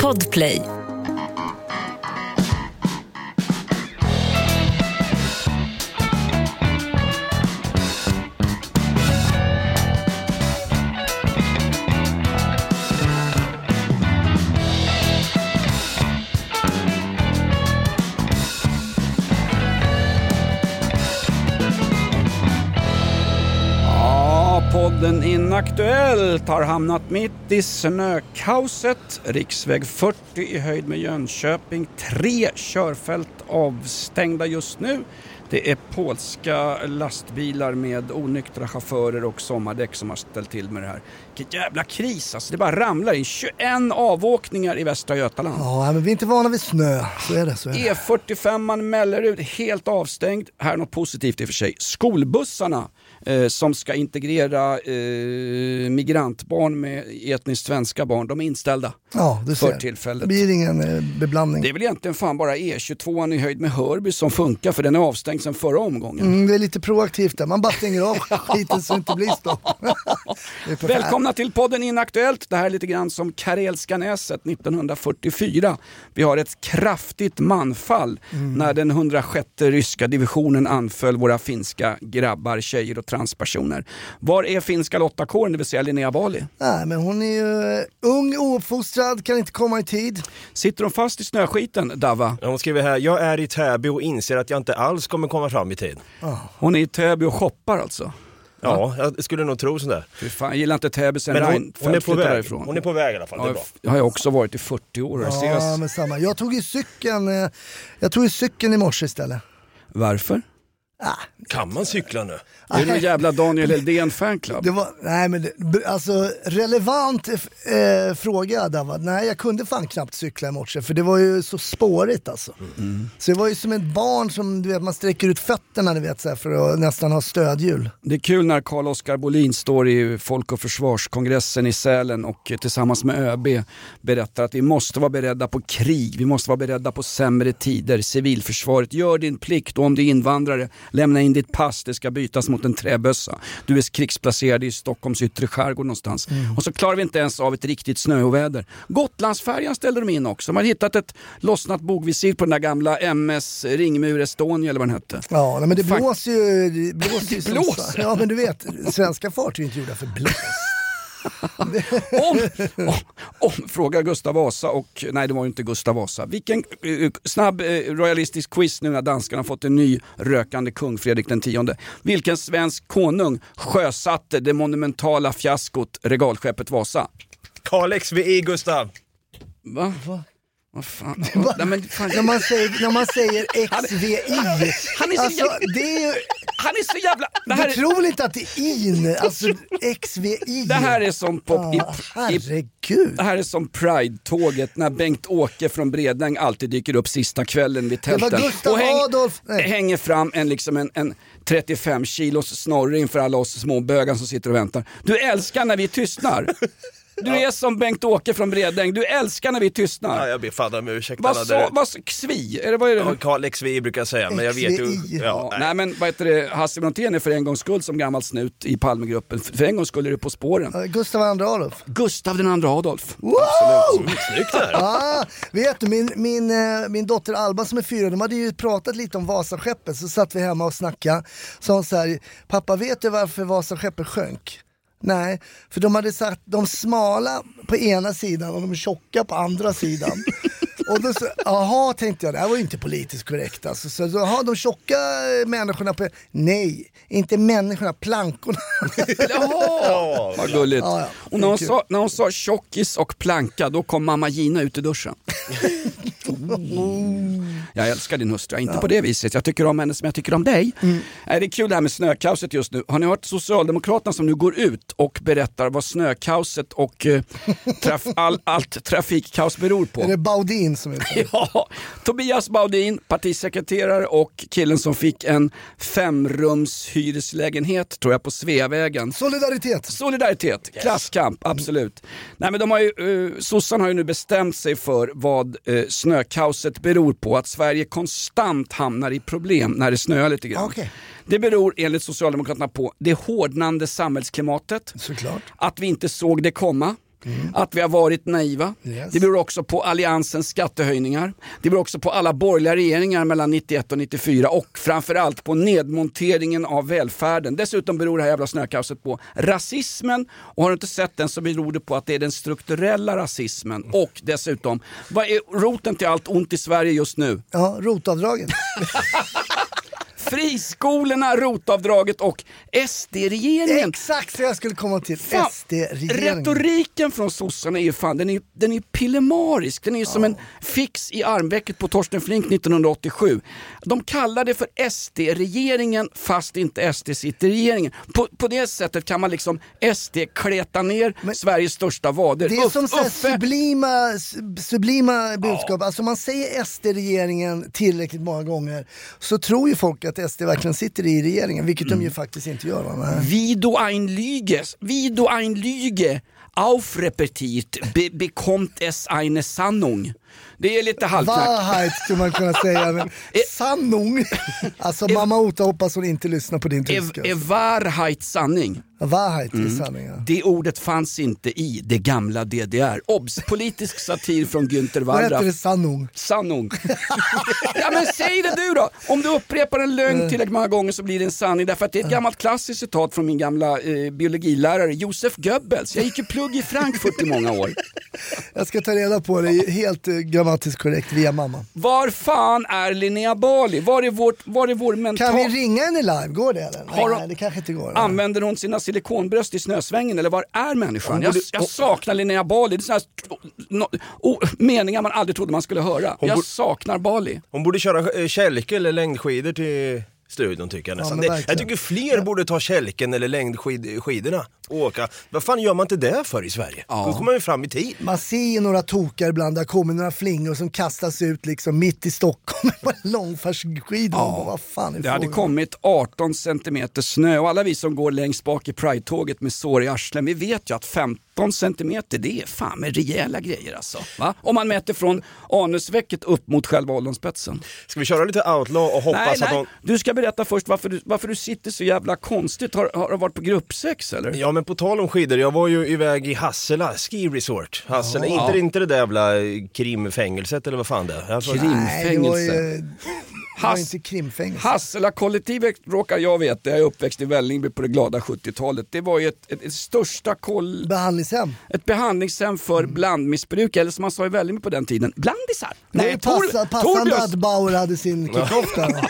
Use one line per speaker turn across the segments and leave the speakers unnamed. Podplay.
Ja, podden Inaktuellt har hamnat mitt i snökaoset. Riksväg 40 i höjd med Jönköping. Tre körfält avstängda just nu. Det är polska lastbilar med onyktra chaufförer och sommardäck som har ställt till med det här. Vilken jävla kris alltså. Det bara ramlar in. 21 avåkningar i Västra Götaland.
Ja, men vi är inte vana vid snö. Så är det. Så är det.
E45 Mellerud, helt avstängd. Här något positivt i och för sig. Skolbussarna eh, som ska integrera eh, migrantbarn med etniskt svenska barn, de är inställda
Ja, du
för
ser. Det
tillfället.
blir ingen eh, beblandning.
Det är väl egentligen fan bara E22 i höjd med Hörby som funkar för den är avstängd sedan förra omgången.
Mm, det är lite proaktivt där. Man bara stänger av skiten så det inte blir stopp. Det är perfekt.
Välkomna till podden Inaktuellt. Det här är lite grann som Karelska näset 1944. Vi har ett kraftigt manfall
Mm.
när den 106 ryska divisionen anföll våra finska grabbar, tjejer och transpersoner. Var är finska lottakåren, det vill säga Linnea Bali?
Nej, men hon är ju eh, ung, ouppfostrad, kan inte komma i tid.
Sitter de fast i snöskiten, Dava?
Hon skriver här, jag är i Täby och inser att jag inte alls kommer komma fram i tid.
Hon är i Täby och shoppar alltså.
Ja, jag skulle nog tro sådär.
Fy fan, jag gillar inte Täby sen
Men hon,
Reinfeldt
hon är på
flyttade
väg.
därifrån.
Hon är på väg i alla fall, det är
Ja,
bra.
jag har jag också varit i 40 år. Jag
Ja,
ses.
men samma. Jag tog ju cykeln, eh, jag tog ju cykeln i morse istället. Ah,
Varför?
Kan man cykla nu?
Är du en jävla Daniel Heldén fanclub?
Det var, nej men det, b- alltså relevant eh, fråga Davad. Nej jag kunde fan knappt cykla i morse för det var ju så spårigt alltså. Så det var ju som ett barn som du vet man sträcker ut fötterna du vet så här, för att nästan ha stödhjul.
Det är kul när Carl-Oskar Bolin står i Folk och Försvarskongressen i Sälen och tillsammans med ÖB berättar att vi måste vara beredda på krig, vi måste vara beredda på sämre tider, civilförsvaret, gör din plikt och om du är invandrare, lämna in ditt pass, det ska bytas mot en träbössa. Du är krigsplacerad i Stockholms yttre skärgård någonstans. Och så klarar vi inte ens av ett riktigt snöoväder. Gotlandsfärjan ställde de in också, de har hittat ett lossnat bogvisir på den där gamla MS Ringmur Estonia eller vad den hette.
Ja nej, men det
Fan.
blåser ju. Det blåser ju
Det
som
blåser.
sa- Ja men du vet svenska fartyg är inte gjorda för blås.
Om, om, om frågar Gustav Vasa och, nej det var ju inte Gustav Vasa. Vilken eh, snabb eh, royalistisk quiz nu när danskarna har fått en ny rökande kung, Fredrik den tionde. Vilken svensk konung sjösatte det monumentala fiaskot regalskeppet Vasa?
Kalix vid I, Gustav.
Va? Va? Vad fan? Nej, men, fan
när,
jag,
man säger, när man säger XVI.
han är så
alltså
jävla-
det är ju,
han är så jävla... Det här,
du
är-
tror väl inte att det är in, alltså XVI.
det här är som på...
Ja,
I, i,
herregud.
det här är som Pride-tåget när Bengt-Åke från Bredäng alltid dyker upp sista kvällen vid
var
tälten.
Gustav Adolf. Nej.
hänger fram en, liksom en, en 35 kilos snorre inför alla oss småbögar som sitter och väntar. Du älskar när vi tystnar. Du är som Bengt-Åke från Bredäng, du älskar när vi tystnar.
Ja, jag ber fadder om ursäkt
Vad
alla där
sa,
ute.
vad sa, kvi? Är det, vad är det?
Ja, Kalix vid I brukar jag säga, men jag vet ju...
XVI.
Ja,
Ja,
nej
nej.
men vad heter det, Hasse Brontén är för en gångs skull som gammal snut i Palmegruppen. För för en gångs skull är du På spåren.
Ja, Gustav II Adolf.
Gustav den andra Adolf.
Wow!
Snyggt där.
Ah, vet du, min, min, eh, min dotter Alba som är fyra, de hade ju pratat lite om Vasaskeppet, så satt vi hemma och snackade. Sa hon så här, pappa vet du varför Vasaskeppet sjönk? Nej, för de hade satt de smala på ena sidan och de tjocka på andra sidan. Och då så, aha, tänkte jag, det här var ju inte politiskt korrekt alltså. Så, så, aha, de tjocka eh, människorna på... Nej, inte människorna, plankorna.
Jaha! Vad gulligt.
Ja, ja.
Och när hon,
Kul.
sa, när hon sa tjockis och planka, då kom mamma Gina ut i duschen. Jag älskar din hustru, inte på det viset. Jag tycker om henne som jag tycker om dig.
Mm.
Nej, Det är kul det här med snökaoset just nu. Har ni hört Socialdemokraterna som nu går ut och berättar vad snökaoset och eh, traf, all, allt trafikkaos beror på?
Är det Baudin som är det?
Ja, Tobias Baudin, partisekreterare och killen som fick en femrums hyreslägenhet tror jag på Sveavägen.
Solidaritet.
Solidaritet, klasskamp, absolut. Nej, men de har ju, eh, sossarna har ju nu bestämt sig för vad eh, snökaoset beror på. Att Sverige konstant hamnar i problem när det snöar lite grann.
Okej.
Det beror enligt Socialdemokraterna på det hårdnande samhällsklimatet,
Såklart.
att vi inte såg det komma, att vi har varit naiva.
Mm. Yes.
Det beror också på alliansens skattehöjningar. Det beror också på alla borgerliga regeringar mellan 91 och 94 och framförallt på nedmonteringen av välfärden. Dessutom beror det här jävla snökaoset på rasismen och har du inte sett den så beror det på att det är den strukturella rasismen och dessutom, vad är roten till allt ont i Sverige just nu?
Ja, rotavdraget.
Friskolorna, rotavdraget och SD-regeringen.
Exakt så jag skulle komma till.
Fan,
SD-regeringen.
Retoriken från sossarna är ju fan, den är, den är pillemarisk. Den är ju som en fix i armvecket på Torsten Flink 1987. De kallar det för SD-regeringen fast inte SD sitter i regeringen. På, på det sättet kan man liksom SD kleta ner Sveriges största vader.
Det är
Uff-
som så här
Uffe-
sublima, sub- sublima budskap. Alltså man säger SD-regeringen tillräckligt många gånger så tror ju folk att SD verkligen sitter i regeringen, vilket de
Mm.
ju faktiskt inte gör. Va? Nej.
Wie du ein Lüges, wie du ein Lüge aufrepetiert, be bekommt es eine Sannung. Det är lite halvknackt.
Wahrheit skulle man kunna säga. Men
E-
sanning. Alltså mamma Ota hoppas hon inte lyssnar på din tyska.
Är, är Wahrheit sanning?
Wahrheit är
Mm.
sanningen.
Det ordet fanns inte i det gamla DDR. Obs! Politisk satir från Günther
Vad heter det?
Wallraff.
Sanning.
Sanning. ja men säg det du då! Om du upprepar en lögn
Eh.
tillräckligt många gånger så blir det en sanning. Därför att det är ett gammalt klassiskt citat från min gamla eh, biologilärare Josef Goebbels. Jag gick ju plugg i Frankfurt i många år.
Jag ska ta reda på det helt eh, grammatiskt korrekt via mamma.
Var fan är Linnea Bali? Var är, vårt, var är vår
Kan vi
mental...
ringa henne live? Går det eller?
Har hon-
Nej, det kanske inte går.
Använder hon sina silikonbröst i snösvängen eller var är människan? Jag, jag saknar Linnea Bali. Det är sådana no, o- meningar man aldrig trodde man skulle höra. Jag
bor-
saknar Bali.
Hon borde köra eh, kälke eller längdskidor till studion tycker jag nästan.
men
Det- jag
verkligen.
tycker fler borde ta kälken eller längdskidorna och åka. Vad fan gör man inte det för i Sverige? Då kommer man ju fram i tid.
Man ser ju några tokar ibland, det kommer några flingor som kastas ut liksom mitt i Stockholm på långfärdsskidor. Man bara, Vad fan är
Det hade
frågan?
kommit 18 centimeter snö och alla vi som går längst bak i Pride-tåget med sår i arslen, vi vet ju att 15 centimeter det är fan med rejäla grejer alltså. Va? Om man mäter från anusvecket upp mot själva ollonspetsen.
Ska vi köra lite outlaw och hoppas
Nej,
att
nej.
hon...
Du ska berätta först varför du, varför du sitter så jävla konstigt. Har, har du varit på gruppsex eller?
Ja men på tal om skidor, jag var ju iväg i Hassela Ski Resort. Hassela,
Ja.
inte, inte det där jävla eh, krimfängelset eller vad fan det är. Alltså,
Nej, det var ju
Krimfängelse.
det var
Hass-
inte krimfängelse.
Hassela-kollektivet råkar jag veta, jag är uppväxt i Vällingby på det glada 70-talet. Det var ju ett, ett, ett största koll...
Behandlingshem.
Ett behandlingshem för
Mm.
blandmissbrukare, eller som man sa i Vällingby på den tiden, blandisar.
Det var ju
Tor-
passa, passande
Torbjörns.
att Bauer hade sin kickoff där.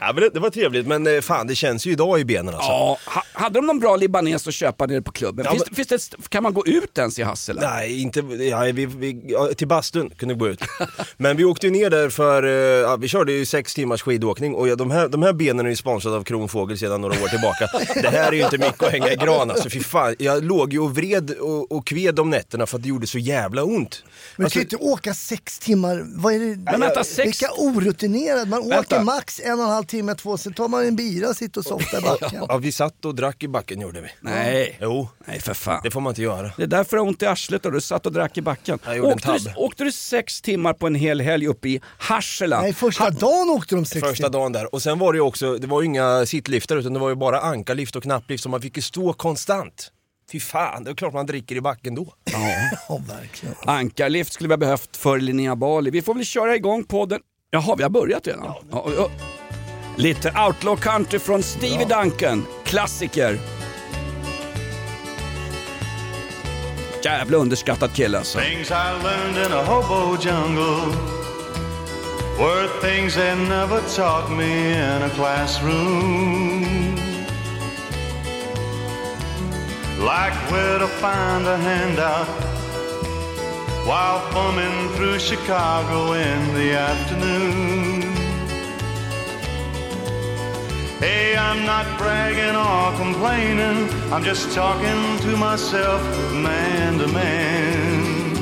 ja, men det, det var trevligt men eh, fan det känns ju idag i benen alltså.
Ja, ha, hade de någon bra libanes att köpa nere på klubben?
Ja,
finns,
men-
det- finns det, ett st- kan man gå ut ens i Hassela?
Nej, inte, ja, vi, vi, ja, till bastun kunde vi gå ut. Men vi åkte ju ner där för, eh, ja, vi körde ju sex timmars skidåkning och ja, de, här, de här benen är ju sponsrade av Kronfågel sedan några år tillbaka. Det här är ju inte mycket att hänga i gran alltså, fy fan. Jag låg ju och vred och, och kved om nätterna för att det gjorde så jävla ont.
Men du
Alltså,
kan ju inte åka sex timmar. Vad är det?
Men vänta, sex-
Vilka orutinerade. Man
Vänta.
åker max en och en halv timme, två, sen tar man en bira och sitter och softar i backen.
ja, vi satt och drack i backen gjorde vi.
Nej.
Jo,
Nej för fan.
det får man inte göra.
Det är därför jag har ont i arslet och du satt och drack i backen.
Jag gjorde en
Åkte du,
tabbe.
åkte du sex timmar på en hel helg uppe i Hassela?
Nej, första dagen åkte de sex
Första
timmar.
dagen där. Och sen var det ju också, det var ju inga sittliftar utan det var ju bara ankarlift och knapplift så man fick ju stå konstant. Fy fan, det är klart man dricker i backen då.
Ja, verkligen.
Ankarlift skulle vi ha behövt för Linnea Bali. Vi får väl köra igång podden. Jaha, vi har börjat redan? Ja, och- och- Lite outlaw country från Stevie Duncan. Klassiker. Jävla underskattad kille alltså.
Things I learned in a hobo jungle were things they never taught me in a classroom. Like where to find a handout while bumming through Chicago in the afternoon. Hey, I'm not bragging or complaining, I'm just talking to myself man to man.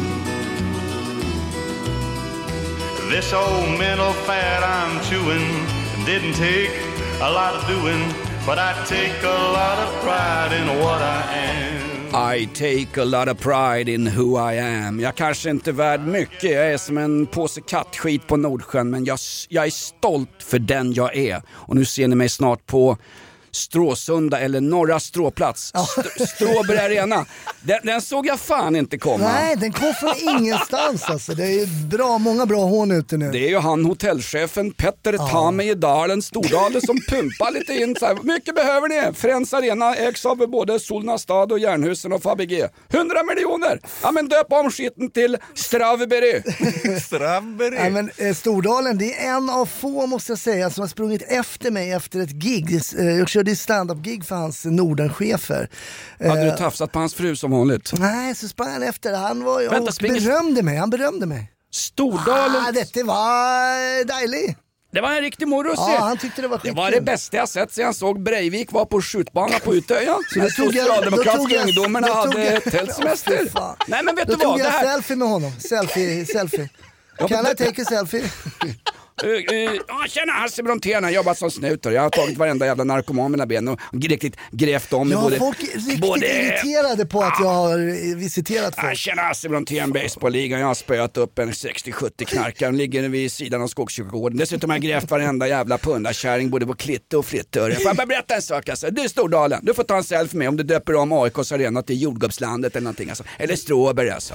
This old mental fad I'm chewing didn't take a lot of doing, but I take a lot of pride in what I am.
I take a lot of pride in who I am. Jag kanske inte är värd mycket, jag är som en påse kattskit på Nordsjön, men jag, jag är stolt för den jag är. Och nu ser ni mig snart på Stråsunda eller Norra Stråplats, St- Stråberg Arena. Den, den såg jag fan inte komma.
Nej, den kom från ingenstans alltså. Det är ju bra, många bra hån ute nu.
Det är ju han hotellchefen Petter ta mig i dalen Stordalen som pumpar lite in så här. mycket behöver ni? Friends Arena ägs av både Solna stad och Jernhusen och Fabege. 100 miljoner! Ja men döp om skiten till Strawberry.
Strawberry.
Ja, men, eh, Stordalen, det är en av få måste jag säga som har sprungit efter mig efter ett gig. Eh, Jag körde ju stand-up-gig för hans Nordenchefer. Eh,
Hade du tafsat på hans fru som vanligt?
Nej, så sprang han efter. Han var ju
Vänta,
och
springer-
berömde mig. Han berömde mig.
Stordalen.
Ah, detta var dejligt.
Det var en riktig morot att se.
Ja, han tyckte det var
det
skitkul.
var det bästa jag sett sedan jag såg Breivik var på skjutbana på Utöya.
då
När
tog jag- då tog
Socialdemokratiska
jag-
ungdomarna
då tog
hade
jag- Ja,
tältsemester.
fy fan.
Nej men vet
Då
du vad,
tog
det
jag
här...
selfie med honom. Selfie, selfie. Kan jag take a selfie?
Uh, uh, ah, tjena, Hasse Brontén, har jobbat som snut och jag har tagit varenda jävla narkoman med mina ben och riktigt grävt om i
Ja,
både...
folk är riktigt irriterade på att jag har eh, visiterat
Ah,
folk.
tjena, Hasse Brontén, baseballligan. Jag har spöat upp en 60-70 knarkare. Hon ligger vid sidan av Skogskyrkogården. Dessutom har jag grävt varenda jävla pundarkärring både på Klitte och Frittörje. Får jag bara berätta en sak alltså? Du Stordalen, du får ta en selfie med om du döper om AIKs arena till jordgubbslandet eller någonting alltså. Eller Stråberg alltså.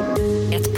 Ett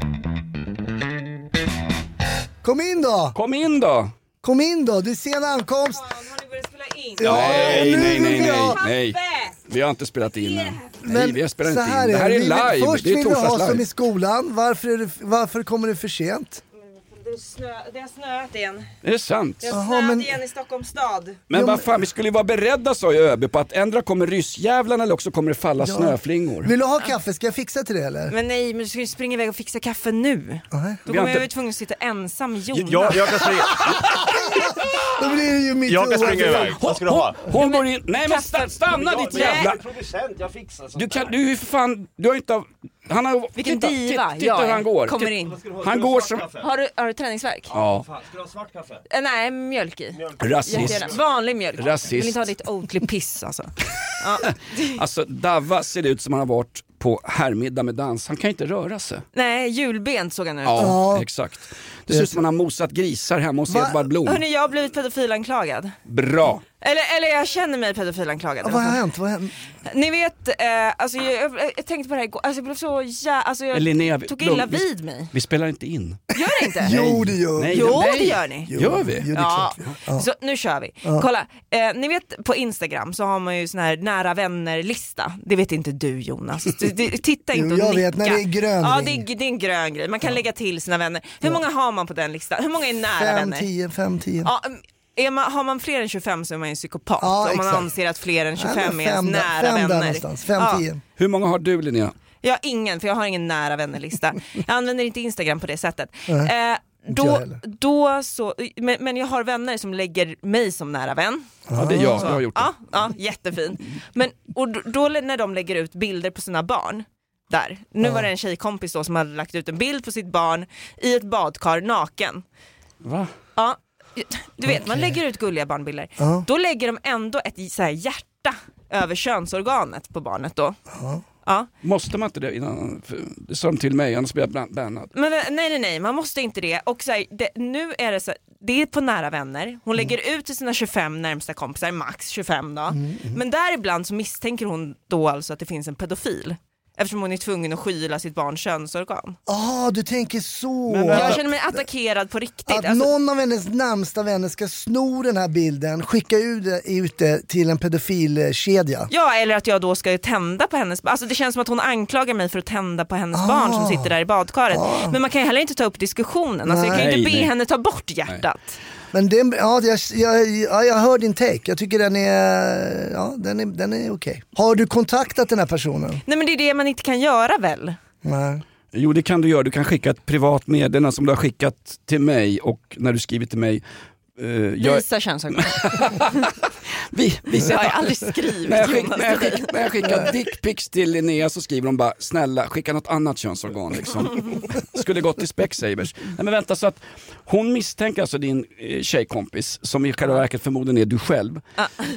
Kom in då!
Kom in då!
Kom in då, du är sen ankomst. Ja,
Nej,
nu
nej,
vill
nej, nej,
jag-
nej. Vi har inte spelat in än. Nej, vi har spelat inte in.
här
Det här
det.
är
Vi vill-
live.
Först
Det är
vill vi ha
torsdags
som i
live.
skolan. Varför, är du, varför kommer du för sent?
Det har snöat igen.
Det är sant.
Det har
Jaha,
snöat
men-
igen i Stockholms stad.
Men vad fan, vi skulle ju vara beredda sa ju ÖB på att ändra kommer ryssjävlarna eller också kommer det falla snöflingor.
Vill du ha kaffe? Ska jag fixa till det eller?
Men nej, men du ska ju springa iväg och fixa kaffe nu. Då
Vi har
kommer
inte-
jag vara tvungen att sitta ensam med Jonas.
Jag, jag, kan springa,
Då blir det ju mitt
jag kan
oavsett.
springa iväg. Vad ska du ha?
Hon går in... Nej men
Kasta-
sta- stanna ditt jävla...
producent, jag fixar sånt
Du kan, du är ju för fan, du har inte... Han har...
Vilken
titta,
diva
Titta, titta
jag
hur
är.
han går.
Kommer
Titta-
in.
Han går som...
Har du, har du träningsverk?
Ja,
Ska du ha svart kaffe?
Eh, nej, mjölk i.
rasist.
Jättegärna. Vanlig mjölk.
Rasist.
Vill inte ha ditt Oatly-piss alltså.
Alltså Davva ser ut som han har varit på herrmiddag med dans. Han kan inte röra sig.
Nej, julbent såg han ut.
Ja,
Ja.
exakt. Det ser ut som han har mosat grisar hemma hos
Va?
Edvard Blom.
Hörni, jag har blivit pedofilanklagad.
Bra!
Eller, eller jag känner mig pedofilanklagad.
Vad har hänt? Vad har hänt?
Ni vet, eh, alltså, jag, jag, jag tänkte på det här igår, alltså, jag blev så jä... alltså, jag
Linnea, vi-
tog illa
vi-
vid mig.
Vi spelar inte in.
Gör det inte?
Jo det gör
Nej.
Jo
nej.
det gör ni.
Gör vi?
Jo, det är
Ja.
klart vi gör. ja.
Så nu kör vi. Kolla, eh, ni vet på Instagram så har man ju sån här nära vänner-lista. Det vet inte du Jonas. Du, du, titta
Jo,
inte och
jag
nicka.
vet, när det är grön
Ja
ring.
det är, det är en grön grej. Man kan lägga till sina vänner. Hur många har man på den listan? Hur många är nära
Fem,
vänner?
tio, fem, tio.
Ja, mm, är man, har man fler än 25 så är man ju psykopat.
Ja,
om man
exakt.
anser att fler än 25 är ens
fem där-
nära
fem Där
vänner.
någonstans. Fem,
Ja.
tio.
Hur många har du Linnea?
Jag har ingen, för jag har ingen nära vännerlista. Jag använder inte Instagram på det sättet.
Nej,
Eh,
jag
då,
heller.
då så, men, men jag har vänner som lägger mig som nära vän.
Ja, det är
Ah.
jag. Jag har gjort det.
Ja, ja jättefin. Men, och då, då när de lägger ut bilder på sina barn, där. Nu var det en tjejkompis då som hade lagt ut en bild på sitt barn i ett badkar naken.
Va?
Ja, du vet, man lägger ut gulliga barnbilder.
Ja.
Då lägger de ändå ett så här hjärta över könsorganet på barnet då. Ja.
Måste man inte det innan? För Det sa de till mig, annars blir jag ban- bannad.
Men nej, nej, nej, man måste inte det. Och så här, det, nu är det så här, det är på nära vänner. Hon
Mm.
lägger ut till sina 25 närmsta kompisar, max 25 då. Men däribland så misstänker hon då alltså att det finns en pedofil. Eftersom hon är tvungen att skyla sitt barns könsorgan.
Ah, du tänker så.
Men vänta.
Jag känner mig attackerad på riktigt.
Att
alltså,
någon av hennes närmsta vänner ska sno den här bilden, skicka ut det- ut det till en pedofilkedja.
ja, eller att jag då ska tända på hennes Alltså Det känns som att hon anklagar mig för att tända på hennes
Ah.
barn som sitter där i badkaret. Men man kan ju heller inte ta upp diskussionen. Alltså, jag kan ju
Ah. Nej,
inte be
nej.
henne ta bort hjärtat.
Men den, ja, jag, jag, ja, jag hör din take, jag tycker den är, ja, den är, den är okej. Har du kontaktat den här personen?
Nej men det är det man inte kan göra väl?
Nej.
Jo det kan du göra, du kan skicka ett privat meddelande som du har skickat till mig och när du skriver till mig eh, jag,
Visa könsorgan.
vi, visa
Jag har aldrig skrivit
när jag, skick,
Jonas
när, jag
till dig.
skick, när jag skickar dickpics till Linnea så skriver de bara snälla skicka något annat könsorgan liksom. Skulle gått till Specsavers. Nej men vänta så att hon misstänker alltså din eh, tjejkompis som i själva verket förmodligen är du själv.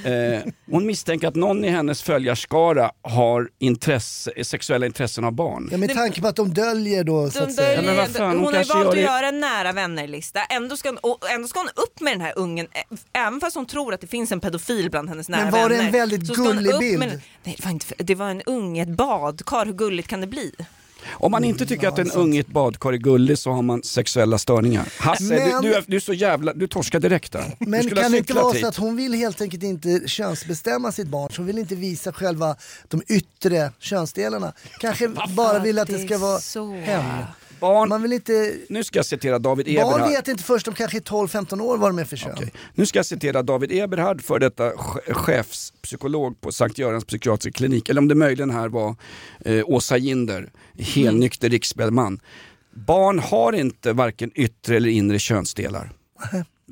Eh, hon misstänker att någon i hennes följarskara har intresse, eh, sexuella intressen av barn.
Ja, med tanke på att de döljer då så
De
att säga.
döljer
men vad
ändå-
fan, hon
hon har ju
kanske
valt
gör
att
det-
göra en nära vännerlista. Ändå ska, hon, och ändå ska hon upp med den här ungen, ä- även fast hon tror att det finns en pedofil bland hennes nära
Men
vänner.
var det en väldigt
så ska hon
gullig
upp med
bild?
den- Nej, det var, inte, det var en unge i ett badkar, hur gulligt kan det bli?
Om man inte tycker att en
Mm,
ung i ett badkar är gullig så har man sexuella störningar. Hasse,
Men-
du, du, är, du är så jävla, du torskar direkt där. du
Men
skulle ha
kan det inte
cyklat
vara
hit.
så att hon vill helt enkelt inte könsbestämma sitt barn, så hon vill inte visa själva de yttre könsdelarna. Kanske bara vill att det ska vara
så.
hem.
Barn,
Man vill inte
nu ska jag citera David Eberhard.
Barn vet inte först om kanske är 12-15 år vad de är för kön.
Okej. Nu ska jag citera David Eberhard, för detta che- chefspsykolog på Sankt Görans psykiatriska klinik, eller om det möjligen här var eh, Åsa Ginder,
Mm.
helnykter riksspelman. Barn har inte varken yttre eller inre könsdelar.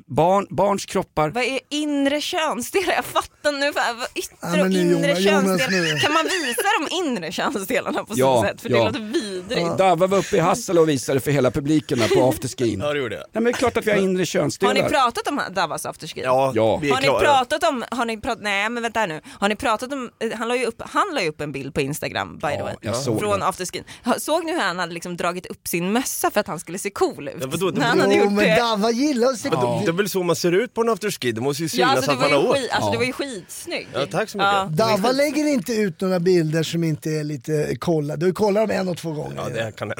Barn, barns kroppar
Vad är inre könsdelar? Jag fattar nu, vad vad yttre
Ja, men
och
nu,
inre
Jonas, Jonas,
könsdelar.
nu.
Kan man visa de inre könsdelarna på
Ja,
så sätt? För det
ja.
låter vidrigt.
Dava var uppe i Hassel och visade för hela publiken där på afterskin.
Ja,
Nej
det gjorde jag.
men det är klart att vi har inre
Har
könsdelar.
ni pratat om Davas afterski?
Ja,
Ja.
vi är
Har ni
klara.
pratat om, har ni pratat, nej men vänta här nu, har ni pratat om, eh, han la ju upp, han la ju upp en bild på Instagram by the way.
jag såg
från
det.
afterskin. Ha- Såg ni hur han hade liksom dragit upp sin mössa för att han skulle se cool ut?
Ja, vadå?
När han hade
Jo
gjort
men
det.
Dava gillar att se
Men det- Det är väl så man ser ut på en afterski, det måste ju
Ja,
synas
alltså, du,
att
var
man har
ju
åkt.
skit, alltså du var ju skitsnygg.
Ja, tack så mycket.
Dava lägger inte ut några bilder som inte är lite kollade. Du kollar dem en och två gånger.
Ja, det kan jag.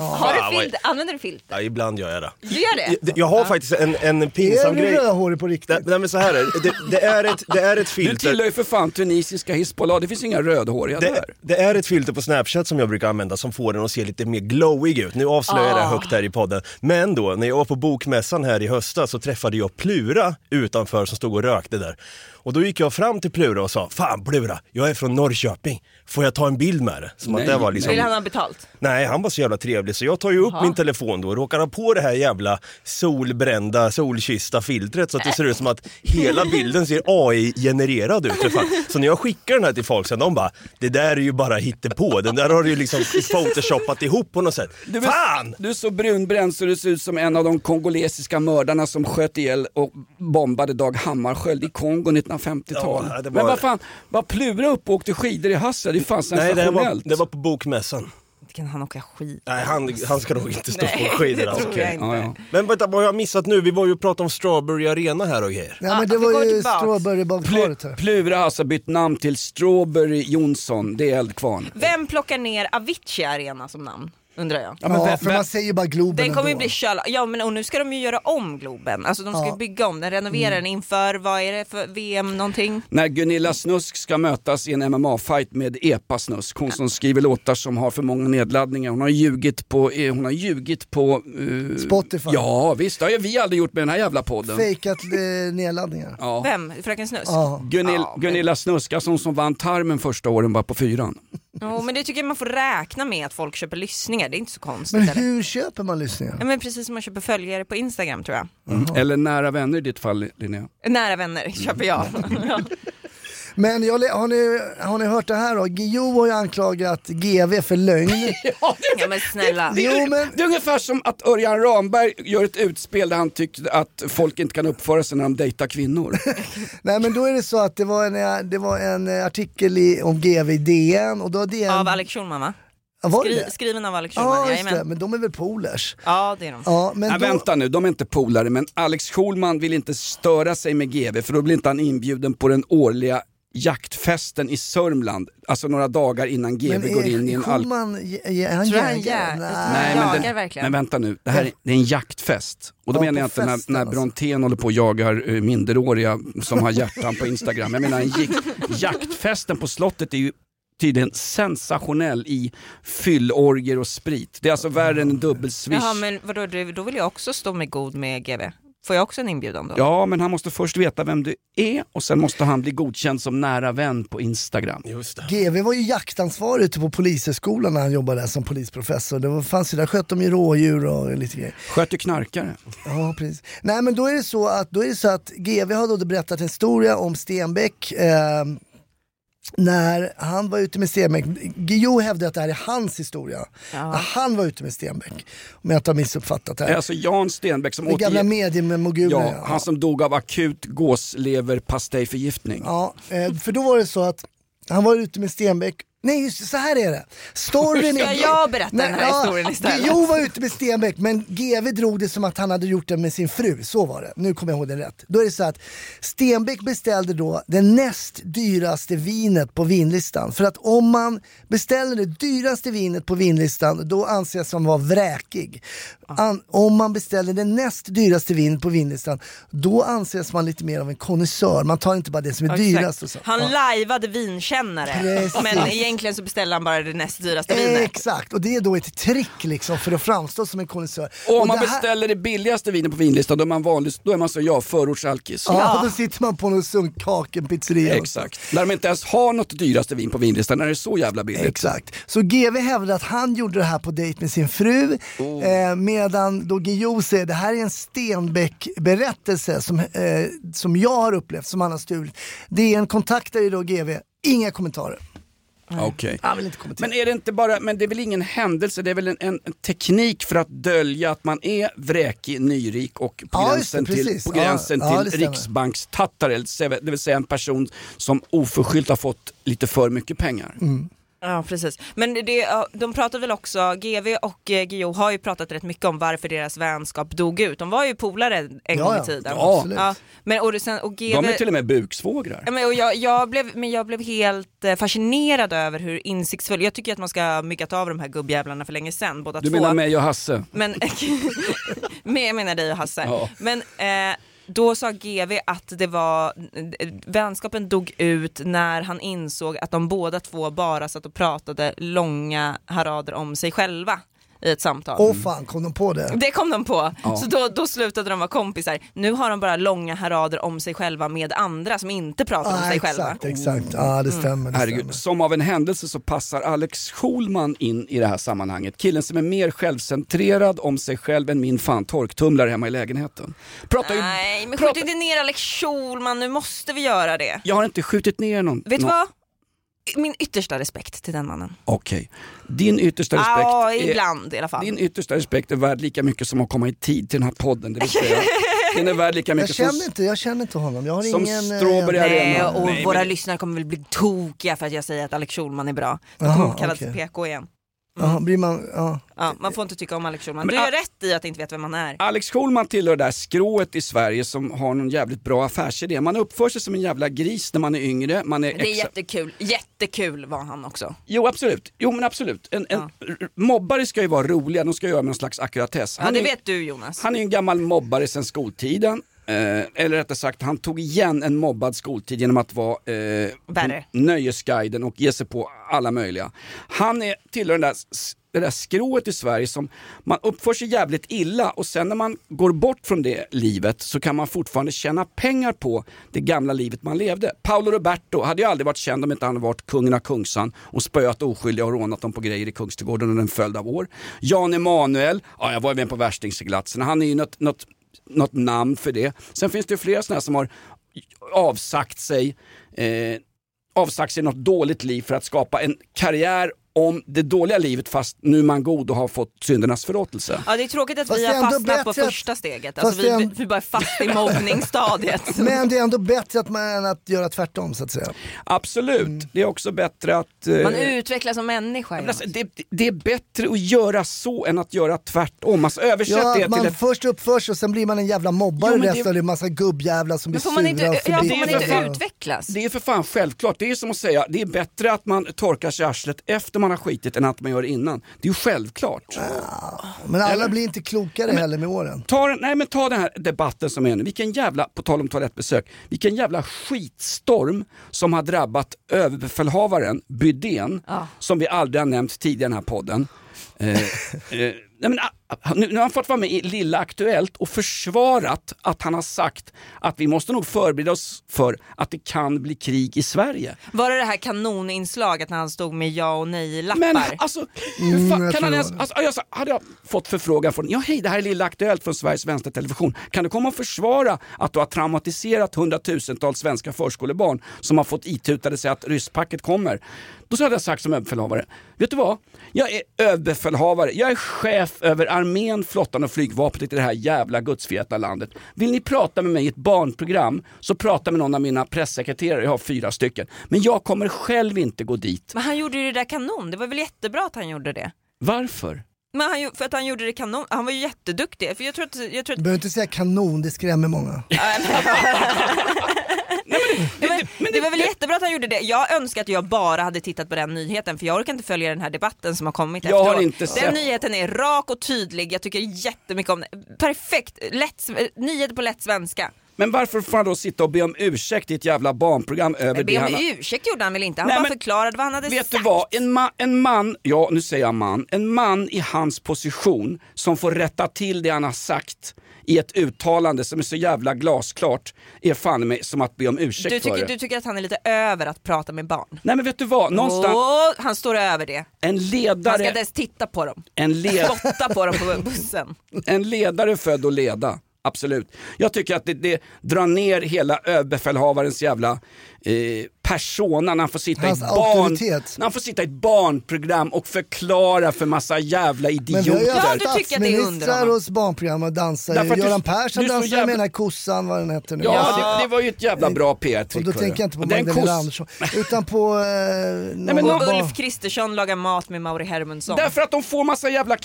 Har
Fan,
du
vad-
filter? Använder du filter?
Ja, ibland gör jag det.
Gör det?
Jag- Jag har faktiskt en, en
Är
pinsam
du
grej.
rödhårig på riktigt?
Nej men så här är det, det, det, är ett, det är ett
Du
filter.
tillhör ju för fan tunisiska Hizbollah, det finns inga rödhåriga
Det,
där.
det är ett filter på Snapchat som jag brukar använda som får den att se lite mer glowig ut. Nu avslöjar
Ah.
jag det högt här i podden. Men då, när jag var på bokmässan här i höstas så träffade jag Plura utanför som stod och rökte där. Och då gick jag fram till Plura och sa, Fan Plura, jag är från Norrköping. Får jag ta en bild med dig? Som att
Nej,
det var liksom...
Vill han ha betalt?
Nej, han var så jävla trevlig så jag tar ju upp min telefon då och råkar ha på det här jävla solbrända, solkyssta filtret så att det ser ut som att hela bilden ser AI-genererad ut. för fan. Så när jag skickar den här till folk sen, de bara “det där är ju bara hittepå, den där har du ju liksom photoshopat ihop på något sätt”.
Du, är-
Fan!
du är så brunbränd så du ser ut som en av de kongolesiska mördarna som sköt ihjäl och bombade Dag Hammarskjöld i Kongo 1950-talet.
Ja, det var-
Men vad fan, var Plura uppe och åkte skidor i Hassel? Det är fan
Nej, det här var,
sensationellt.
det var på bokmässan.
kan han åka skid?
Nej, han, han ska nog inte stå på skidor.
det
alltså.
tror jag inte.
Ja, ja.
Men vänta, vad har jag missat nu? Vi var ju och pratade om Strawberry Arena här och grejer.
Nej men det
Ah, vi
var
går
ju
tillbaks.
strawberrybadet
Pl-
här.
Plura har alltså bytt namn till Strawberry Jonsson, det är Eldkvarn.
Vem plockar ner Avicii Arena som namn? Undrar jag.
men
Ja,
vem-
för man
vem-
säger ju bara Globen
Den kommer ju
ändå.
bli köl... Ja men och nu ska de ju göra om Globen. Alltså de ska
Ja.
ju bygga om den, renovera
Mm.
den inför, vad är det för VM någonting?
När Gunilla Snusk ska mötas i en MMA-fight med Epa Snusk, hon som skriver låtar som har för många nedladdningar. Hon har ljugit på... eh, Hon har ljugit på eh,
Spotify.
Ja visst, det har ju vi aldrig gjort med den här jävla podden.
Fejkat eh, nedladdningar. Ja.
Ja.
Vem? Fröken Snusk?
Gunil,
Ja, men-
Gunilla Snusk, alltså hon som vann tarmen första åren bara på fyran.
Jo, men det tycker jag man får räkna med att folk köper lyssningar, det är inte så konstigt.
Men
Men eller?
hur köper man lyssningar?
Ja, men precis som man köper följare på Instagram tror jag.
Mm. Eller nära vänner i ditt fall Linnea.
Nära vänner
Mm.
köper jag. Ja.
Men jag, le- har, ni, har ni hört det här då? Guillou har ju anklagat GV för lögn.
ja men snälla.
jo men
Det är ungefär som att Örjan Ramberg gör ett utspel där han tyckte att folk inte kan uppföra sig när de dejtar kvinnor.
Nej men då är det så att det var en, eh, det var en eh, artikel i, om GV i DN och då har DN...
Av Alex Schulman va?
Ja, var det
Skri-
det?
skriven av Alex Schulman,
Ja just det,
jajamän.
men de är väl polers?
Ja det är de.
Ja men
Nej,
då...
vänta nu, de är inte polare men Alex Schulman vill inte störa sig med GV för då blir inte han inbjuden på den årliga jaktfesten i Sörmland. Alltså några dagar innan GV
men
går in i en alk...
Schulman, är, är han
Tror han
jägare?
jä-
Nej.
Nej, men,
Jagar
den,
verkligen.
men vänta nu, det här är, det är en jaktfest. Och då
Ja,
menar jag
på
inte när,
festen
när
alltså.
Brontén håller på och jagar uh, minderåriga som har hjärtan på Instagram. Jag menar en gikt, jaktfesten på slottet är ju tydligen sensationell i fyllorger och sprit. Det är alltså värre än en dubbelswish.
Jaha men vadå, du- då vill jag också stå med god med GV. Får jag också en inbjudan då?
Ja, men han måste först veta vem du är och sen måste han bli godkänd som nära vän på Instagram.
Just det.
GV var ju jaktansvarig ute på polishögskolan när han jobbade där som polisprofessor. Det var, fanns ju, där sköt de ju rådjur och lite grejer.
Sköt ju knarkare.
Ja, precis. Nej, men då är det så att, då är det så att GV har då berättat en historia om Stenbeck. Eh, när han var ute med Stenbeck, Guillou hävdade att det här är hans historia. När han var ute med Stenbeck. Om jag inte har missuppfattat
Det
det
är
här.
alltså Jan Stenbeck som
Den gamla
återger...
mediemogulen.
Ja, han som dog av akut gåsleverpastejförgiftning.
Ja, eh, för då var det så att han var ute med Stenbeck Nej just det, så här är det. Storyn
Ska
är...
jag berätta den här historien istället?
Jo var ute med Stenbeck men GV drog det som att han hade gjort det med sin fru. Så var det. Nu kommer jag ihåg det rätt. Då är det så att Stenbeck beställde då det näst dyraste vinet på vinlistan. För att om man beställer det dyraste vinet på vinlistan då anses man vara vräkig. An- om man beställer det näst dyraste vinet på vinlistan då anses man lite mer av en konnässör. Man tar inte bara det som är
Ja, exakt.
dyrast och så.
Han
Ja.
lajvade vinkännare
Precis.
men egentligen så beställde han bara det näst dyraste vinet.
Exakt, och det är då ett trick liksom för att framstå som en konnässör.
Och
Och
om man
det här-
beställer det billigaste vinet på vinlistan då är man vanlig, då är man som jag, förortsalkis.
Ja, då sitter man på någon sunkaken pizzeria.
Exakt. När de inte ens har något dyraste vin på vinlistan, när det är så jävla billigt.
Exakt. Så GV hävdar att han gjorde det här på dejt med sin fru.
Oh.
Eh, medan då Guillou säger det här är en Stenbeck-berättelse som, eh, som jag har upplevt, som han har stulit. Det är en kontaktar ju då GV. Inga kommentarer.
Okej.
Han vill inte kommentera.
Men är det inte bara, men det är väl ingen händelse, det är väl en, en teknik för att dölja att man är vräkig, nyrik och på
Ja, just det,
gränsen till,
precis.
på gränsen
Ja, ja, det
till
stämmer.
riksbankstattare, det vill säga en person som oförskyllt har fått lite för mycket pengar.
Mm.
Ja precis. Men det, ja, de pratar väl också, GV och eh, Guillou har ju pratat rätt mycket om varför deras vänskap dog ut. De var ju polare en gång
ja.
i tiden.
Ja, absolut.
Men, och, det sen, och GV,
De är till och med buksvågrar.
Ja, men, och jag, jag blev, men jag blev helt eh, fascinerad över hur insiktsfull, jag tycker att man ska ha myggat av de här gubbjävlarna för länge sedan båda
Du
två.
menar mig och Hasse?
Men, men jag menar dig och Hasse.
Ja.
Men eh, då sa GV att det var, vänskapen dog ut när han insåg att de båda två bara satt och pratade långa harader om sig själva i ett samtal.
Åh fan, kom de på det?
Det kom de på, så då, då slutade de vara kompisar. Nu har de bara långa harader om sig själva med andra som inte pratar om
Ah,
sig själva.
exakt, exakt. Ja, det stämmer. Det stämmer.
Herregud. Som av en händelse så passar Alex Schulman in i det här sammanhanget. Killen som är mer självcentrerad om sig själv än min fan torktumlare hemma i lägenheten. Pratar ju,
Nej men skjut
pratar,
inte ner Alex Schulman, nu måste vi göra det.
jag har inte skjutit ner någon.
Vet du
någon.
vad? Min yttersta respekt till den mannen.
Okej. Din yttersta respekt
Ja,
Eh,
är-
ibland i alla fall.
Din yttersta respekt är värd lika mycket som att komma i tid till den här podden. Det vill säga, den är värd lika
Jag
mycket som...
känner inte, jag känner inte honom. Jag har
Som
ingen... eh,
strawberry
Nej,
arena.
och
Nej,
våra
men-
lyssnare kommer väl bli tokiga för att jag säger att Alex Schulman är bra. De kommer
Jaha,
kallas
okej.
PK igen.
Ja, blir man, ja.
Ja, man får inte tycka om Alex Schulman.
Men
Du gör
a-
rätt i att inte veta vem han är.
Alex Schulman tillhör det där skrået i Sverige som har någon jävligt bra affärsidé. Man uppför sig som en jävla gris när man är yngre. Man är
Det är
exa-
jättekul. Jättekul var han också.
Jo absolut, jo men absolut. En, en, r- Mobbare ska ju vara roliga, de ska göra med någon slags ackuratess.
Ja, det
är-
vet du Jonas.
Han är ju en gammal mobbare sedan skoltiden. Eh, eller rättare sagt, han tog igen en mobbad skoltid genom att vara eh, på
Värre.
Nöjesguiden och ge sig på alla möjliga. Han är, tillhör den där, s- det där skrået i Sverige som man uppför sig jävligt illa och sen när man går bort från det livet så kan man fortfarande tjäna pengar på det gamla livet man levde. Paolo Roberto hade ju aldrig varit känd om inte han hade varit kungen av Kungsan och spöat oskyldiga och rånat dem på grejer i Kungsträdgården under en följd av år. Jan Emanuel, ja jag var ju med på värstingseklatserna, han är ju något, något, något namn för det. Sen finns det ju flera sådana här som har avsagt sig eh, avsagt sig något dåligt liv för att skapa en karriär om det dåliga livet fast nu är man god och har fått syndernas förlåtelse.
Ja, det är tråkigt att
Fast
vi
det är
har
ändå
fastnat på
bättre att-
första steget.
fast
Alltså, vi,
det är
vi,
en-
vi bara är fast i mobbningsstadiet.
Men det är ändå bättre att man, än att göra tvärtom så att säga.
Absolut, det är också bättre att... eh,
Man utvecklas som människa.
men
Jonas.
alltså, det, det är bättre att göra så än att göra tvärtom. Alltså översätt det
Ja,
till
man
en...
först uppför sig och sen blir man en jävla mobbare
Jo, men det-
resten av livet. Massa gubbjävlar som blir
Men får man inte,
sura och
ja, får man
förbittrade.
inte utvecklas?
Det är för fan självklart. Det är som att säga, det är bättre att man torkar sig i arslet efter man har skitit än att man gör det innan. Det är ju självklart.
Men alla blir inte klokare heller med åren.
Ta den, nej men ta den här debatten som är nu. Vilken jävla, på tal om toalettbesök, vilken jävla skitstorm som har drabbat överbefälhavaren Bydén, som vi aldrig har nämnt tidigare i den här podden. Eh, eh, nej men, ah, ah, nu, nu har han fått vara med i Lilla Aktuellt och försvarat att han har sagt att vi måste nog förbereda oss för att det kan bli krig i Sverige.
Var det det här kanoninslaget när han stod med ja och nej-lappar?
Men alltså, hur
Mm, jag
fan
tror
kan han
det
ens,
var
alltså, jag sa, hade jag fått förfrågan från, ja hej det här är Lilla Aktuellt från Sveriges Vänstertelevision, kan du komma och försvara att du har traumatiserat hundratusentals svenska förskolebarn som har fått itutade sig att rysspacket kommer? Då så hade jag sagt som överbefälhavare, vet du vad? Jag är överbefälhavare, jag är chef över armén, flottan och flygvapnet i det här jävla gudsfeta landet. Vill ni prata med mig i ett barnprogram så prata med någon av mina pressekreterare, jag har fyra stycken. Men jag kommer själv inte gå dit.
Men han gjorde ju det där kanon, det var väl jättebra att han gjorde det?
Varför?
Men han, ju- för att han gjorde det kanon, han var ju jätteduktig. För jag tror att, jag tror
Du
att,
behöver inte säga kanon, det skrämmer många.
ja, men, det var väl jättebra att han gjorde det. Jag önskar att jag bara hade tittat på den nyheten för jag orkar inte följa den här debatten som har kommit
Jag har
efteråt.
inte
den
sett-
nyheten är rak och tydlig, jag tycker jättemycket om den. Perfekt, lätt, nyheter på lätt svenska.
Men varför får han då sitta och be om ursäkt i ett jävla barnprogram över
Men
det
be om
han...
ursäkt gjorde han väl inte? Han
Nej,
bara
men-
förklarade vad han hade
Vet du
sagt.
vad, en, ma- en man, ja nu säger jag man, en man i hans position som får rätta till det han har sagt i ett uttalande som är så jävla glasklart är fan i mig som att be om ursäkt
Du
för
tycker,
det.
du tycker att han är lite över att prata med barn?
Nej men vet du vad, någonstans,
Åh, han står över det.
en
Han ska
ledare,
inte ens titta på dem.
en, led,
Spotta på dem på bussen.
en ledare är född att leda. Absolut. Jag tycker att det, det drar ner hela överbefälhavarens jävla eh, persona när han får sitta
Hans
i ett barn,
auktoritet.
när han får sitta i ett barnprogram och förklara för massa jävla
Men vi har ju
idioter.
Ja,
haft
du tycker att det är under
statsministrar
honom.
hos barnprogram och dansar.
Därför att du-
Göran
du
Persson
är så
dansade
jävla-
med den här kossan, vad den hette nu.
Ja, Det, det var ju ett jävla bra
och
PR-trick.
då
hörru.
tänker jag inte på
Och den
Magdalena
koss-
Andersson, utan på... Eh, Nej,
men
Och
Bara-
Ulf Kristersson lagar mat med Mauri Hermundsson.
Därför att de får massa jävla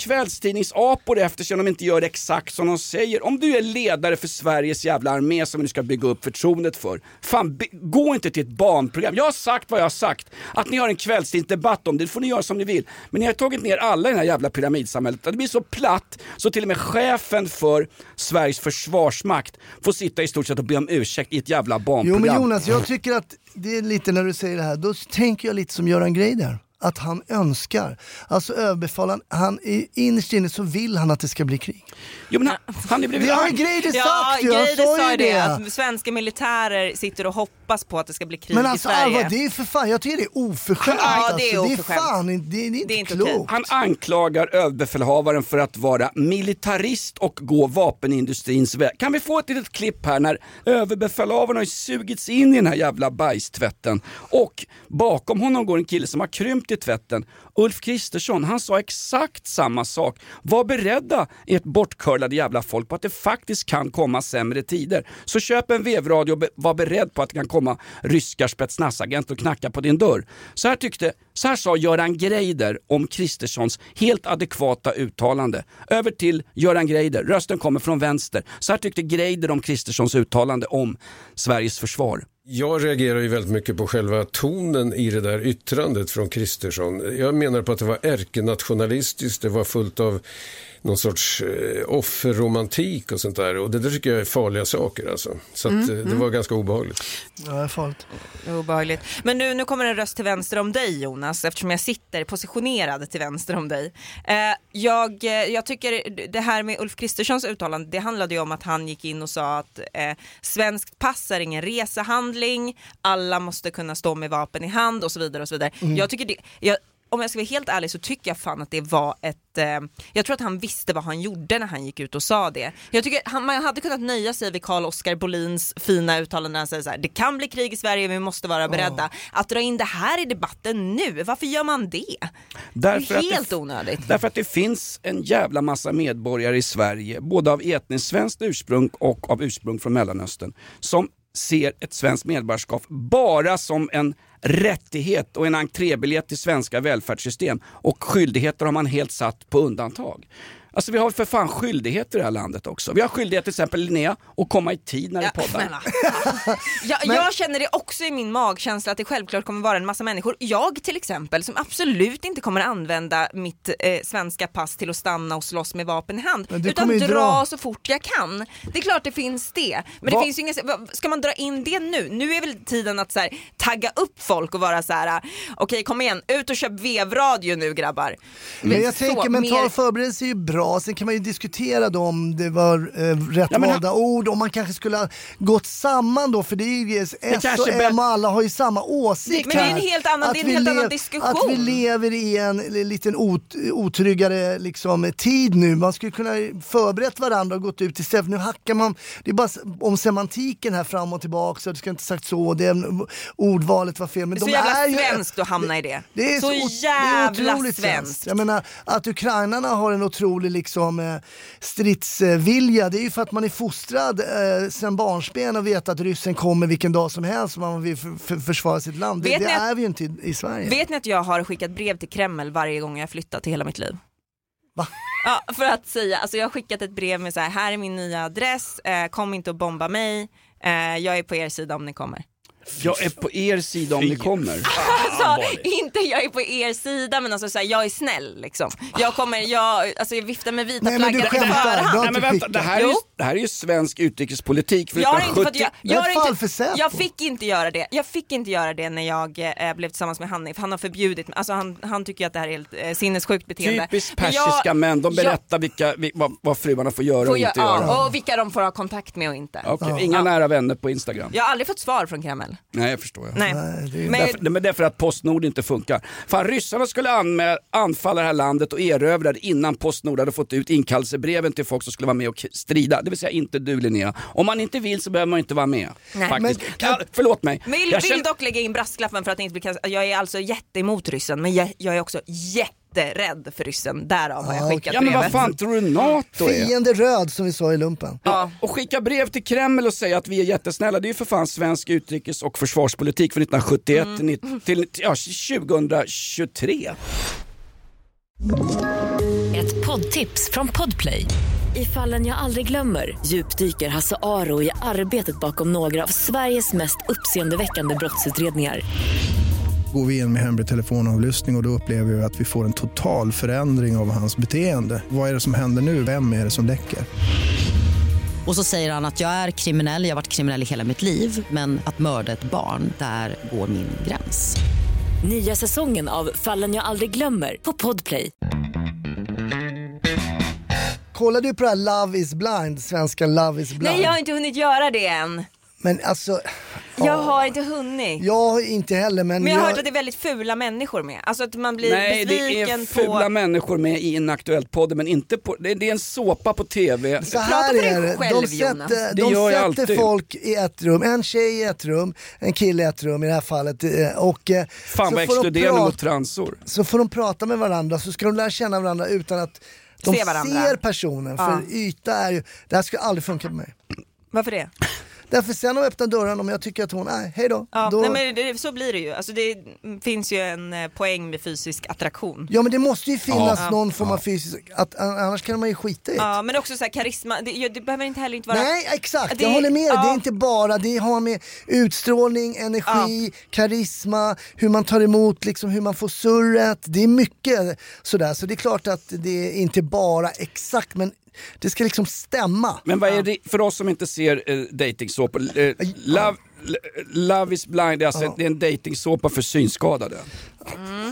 kvällstidningsapor efter sig om de inte gör exakt som de säger. Om du är ledare för Sveriges jävla armé som du ska bygga upp förtroendet för, fan be- gå inte till ett barnprogram. Jag har sagt vad jag har sagt. Att ni har en kvällstidningsdebatt om det, det får ni göra som ni vill. Men ni har tagit ner alla i det här jävla pyramidsamhället. Det blir så platt så till och med chefen för Sveriges försvarsmakt får sitta i stort sett och be om ursäkt i ett jävla
Jo
barnprogram.
men Jonas, jag tycker att det är lite när du säger det här, då tänker jag lite som Göran Greider. Att han önskar, alltså överbefälhavaren, han är innerst inne så vill han att det ska bli krig.
Jo, men han, han är blivit
Det har
arg.
ju Greider
Ja,
sagt ju, han
Greider
sa
sa
ju
ju
det.
det, att svenska militärer sitter och hoppas på att det ska bli krig
men
i
alltså
Sverige.
Alva, det är för fan, jag tycker det är oförskämt.
Ja, det är
alltså.
oförskämt.
fan inte- det, är inte
Det är inte
klokt.
Han anklagar överbefälhavaren för att vara militarist och gå vapenindustrins väg. Kan vi få ett litet klipp här när överbefälhavaren har ju sugits in i den här jävla bajstvätten och bakom honom går en kille som har krympt i tvätten. Ulf Kristersson, han sa exakt samma sak. Var beredda ert bortcurlade jävla folk på att det faktiskt kan komma sämre tider. Så köp en vevradio och be- var beredd på att det kan komma ryska spetsnazagenter och knacka på din dörr. Så här, tyckte, så här sa Göran Greider om Kristerssons helt adekvata uttalande. Över till Göran Greider, rösten kommer från vänster. Så här tyckte Greider om Kristerssons uttalande om Sveriges försvar.
Jag reagerar ju väldigt mycket på själva tonen i det där yttrandet från Kristersson. Jag menar på att det var ärkenationalistiskt, det var fullt av någon sorts eh, offerromantik och sånt där. Och det där tycker jag är farliga saker alltså. Så att, eh, det var ganska obehagligt.
Ja, det är farligt.
Obehagligt. Men nu, nu kommer en röst till vänster om dig Jonas, eftersom jag sitter positionerad till vänster om dig. Eh, jag, eh, jag tycker det här med Ulf Kristerssons uttalande, det handlade ju om att han gick in och sa att eh, svenskt pass är ingen resehandling, alla måste kunna stå med vapen i hand och så vidare. och så vidare.
Mm.
Jag tycker det, jag, om jag ska vara helt ärlig så tycker jag fan att det var ett... Eh, jag tror att han visste vad han gjorde när han gick ut och sa det. Jag tycker han, man hade kunnat nöja sig vid Carl-Oskar Bolins fina uttalande när han säger så här, det kan bli krig i Sverige men vi måste vara beredda. Att dra in det här i debatten nu, varför gör man det?
Därför
det
att
är
det-
helt onödigt.
Därför att det finns en jävla massa medborgare i Sverige, både av etniskt svenskt ursprung och av ursprung från Mellanöstern, som ser ett svenskt medborgarskap bara som en rättighet och en entrébiljett till svenska välfärdssystem och skyldigheter har man helt satt på undantag. Alltså vi har för fan skyldigheter i det här landet också. Vi har skyldighet till exempel Linnea att komma i tid när du
Ja,
poddar.
snälla. jag, jag känner det också i min magkänsla att det självklart kommer vara en massa människor, jag till exempel, som absolut inte kommer använda mitt eh, svenska pass till att stanna och slåss med vapen i hand.
Men du
Utan
kommer
dra,
ju dra.
så fort jag kan. Det är klart det finns det. Men
Va-
det finns ju inga, va- ska man dra in det nu? Nu är väl tiden att så här, tagga upp folk och vara så här, eh, okej kom igen, ut och köp vevradio nu grabbar.
Men jag
Så,
tänker mental
mer-
förberedelse är ju bra, sen kan man ju diskutera då om det var eh, rätt
Ja, men
valda ord, om man kanske skulle ha gått samman då för det är ju S och
kanske bä-
M och alla har ju samma åsikt
Men det är en
här.
helt annan-
Att
det är en
vi
helt annan
lev- Att
diskussion.
vi lever i en li- liten ot otryggare liksom, tid nu, man skulle kunna förberett varandra och gått ut istället, nu hackar man, det är bara s- om semantiken här fram och tillbaka, så du ska inte sagt så, det, ordvalet var fel. Men
Det är så
de
jävla
ju-
svenskt att hamna i det.
det är
så,
så, o- det är
jävla
otroligt
svenskt.
Jag menar att ukrainarna har en otrolig liksom, eh, stridsvilja, det är ju för att man är fostrad eh, sedan barnsben och vet att ryssen kommer vilken dag som helst och man vill f- f- försvara sitt land. Det,
Vet
det
ni att-
är vi ju inte i, i Sverige.
Vet ni att jag har skickat brev till Kreml varje gång jag flyttat i hela mitt liv?
Va?
Ja, för att säga, alltså jag har skickat ett brev med så här, här är min nya adress, eh, kom inte och bomba mig, eh, jag är på er sida om ni kommer.
Jag är på er sida om ni kommer.
Alltså, inte jag är på er sida men alltså så här, jag är snäll liksom. Jag kommer, jag, alltså jag viftar med vita
Nej, men du
flaggan på
skämtar. Du har
förhand.
Nej, men vänta, det, här är ju,
Jo.
det här är ju svensk utrikespolitik. För
Jag, har inte fått,
1970
jag,
Vad
jag, har
fan för
inte,
Säpo?
jag fick inte göra det. Jag fick inte göra det när jag eh, blev tillsammans med Hanif. Han har förbjudit mig. Alltså han, han tycker ju att det här är helt eh, sinnessjukt beteende.
Typiskt
Men jag-
persiska män, de
jag-
berättar vilka, vi- vad, vad fruarna får göra
Får
och
jag-
inte
ja,
göra.
Och vilka de får ha kontakt med och inte.
Okej, Inga nära vänner på Instagram.
Jag har aldrig fått svar från Kreml.
Nej, jag förstår. Jag.
Nej.
det är-
Men
Därför, nej, men det är för att Postnord inte funkar. Fan, ryssarna skulle anmä- anfalla det här landet och erövra det innan Postnord hade fått ut inkallelsebreven till folk som skulle vara med och k- strida. Det vill säga inte du Linnea. Om man inte vill så behöver man inte vara med.
Nej.
Faktiskt.
Men-
ja, förlåt mig.
men vill,
Jag
vill
känner-
dock lägga in brasklappen för att det inte blir kast... Jag är alltså jätteemot ryssen men jag, jag är också jätterädd för ryssen. Därav har jag
Ja,
skickat
Ah, ja, men vad
brevet.
fan tror du NATO är?
Fiende röd som vi sa i lumpen.
Ja.
Och skicka brev till Kreml och säga att vi är jättesnälla, det är ju för fan svensk utrikes och försvarspolitik från 1971
Mm.
till, till ja, 2023.
Ett poddtips från Podplay. I fallen jag aldrig glömmer djupdyker Hasse Aro i arbetet bakom några av Sveriges mest uppseendeväckande brottsutredningar.
Går vi in med hemlig telefonavlyssning och, och då upplever vi att vi får en total förändring av hans beteende. Vad är det som händer nu? Vem är det som läcker?
Och så säger han att jag är kriminell, jag har varit kriminell i hela mitt liv men att mörda ett barn, där går min gräns.
Nya säsongen av Fallen jag aldrig glömmer på Podplay.
Kollade du på det här Love is blind, svenska Love is blind?
Nej jag har inte hunnit göra det än.
Ah.
Men alltså,
Jag har inte hunnit.
jag har inte heller men,
Men jag har hört att det är väldigt fula människor med. Alltså att man blir
Nej, det
besviken
är fula
på...
människor med i Inaktuellt-podden men inte på, det, det är en såpa på TV.
Så
Prata
här
för dig
är det.
själv,
de sätter,
Jonas.
Det gör jag
de sätter
alltid.
folk i ett rum, en tjej i ett rum, en kille i ett rum i det här fallet. eh, Och, eh,
Fan
så
vad
får de
exkluderande
prata-
mot transor.
Så får de prata med varandra, så ska de lära känna varandra utan att de
Se varandra.
ser personen. För yta är ju, det här skulle aldrig funka på mig.
Varför det?
Därför sen om jag öppnar dörren, om jag tycker att hon, nej, hej då.
Ja,
då...
nej, men det, så blir det ju. Alltså, det finns ju en eh, poäng med fysisk attraktion.
Ja men det måste ju finnas
Ja.
någon form av fysisk, att, annars kan man ju skita i det.
Ja, men också så här, karisma, det, ja, det behöver inte heller inte vara...
Nej exakt,
Det-
jag håller med dig. Det är
ja.
inte bara, det har med utstrålning, energi, karisma, hur man tar emot, liksom, hur man får surret. Det är mycket sådär. Så det är klart att det är inte bara exakt men det ska liksom stämma.
Men vad är det för oss som inte ser eh, dejtingsåpor? Eh, love, eh, love is blind, det är, alltså, det är en dejtingsåpa för synskadade.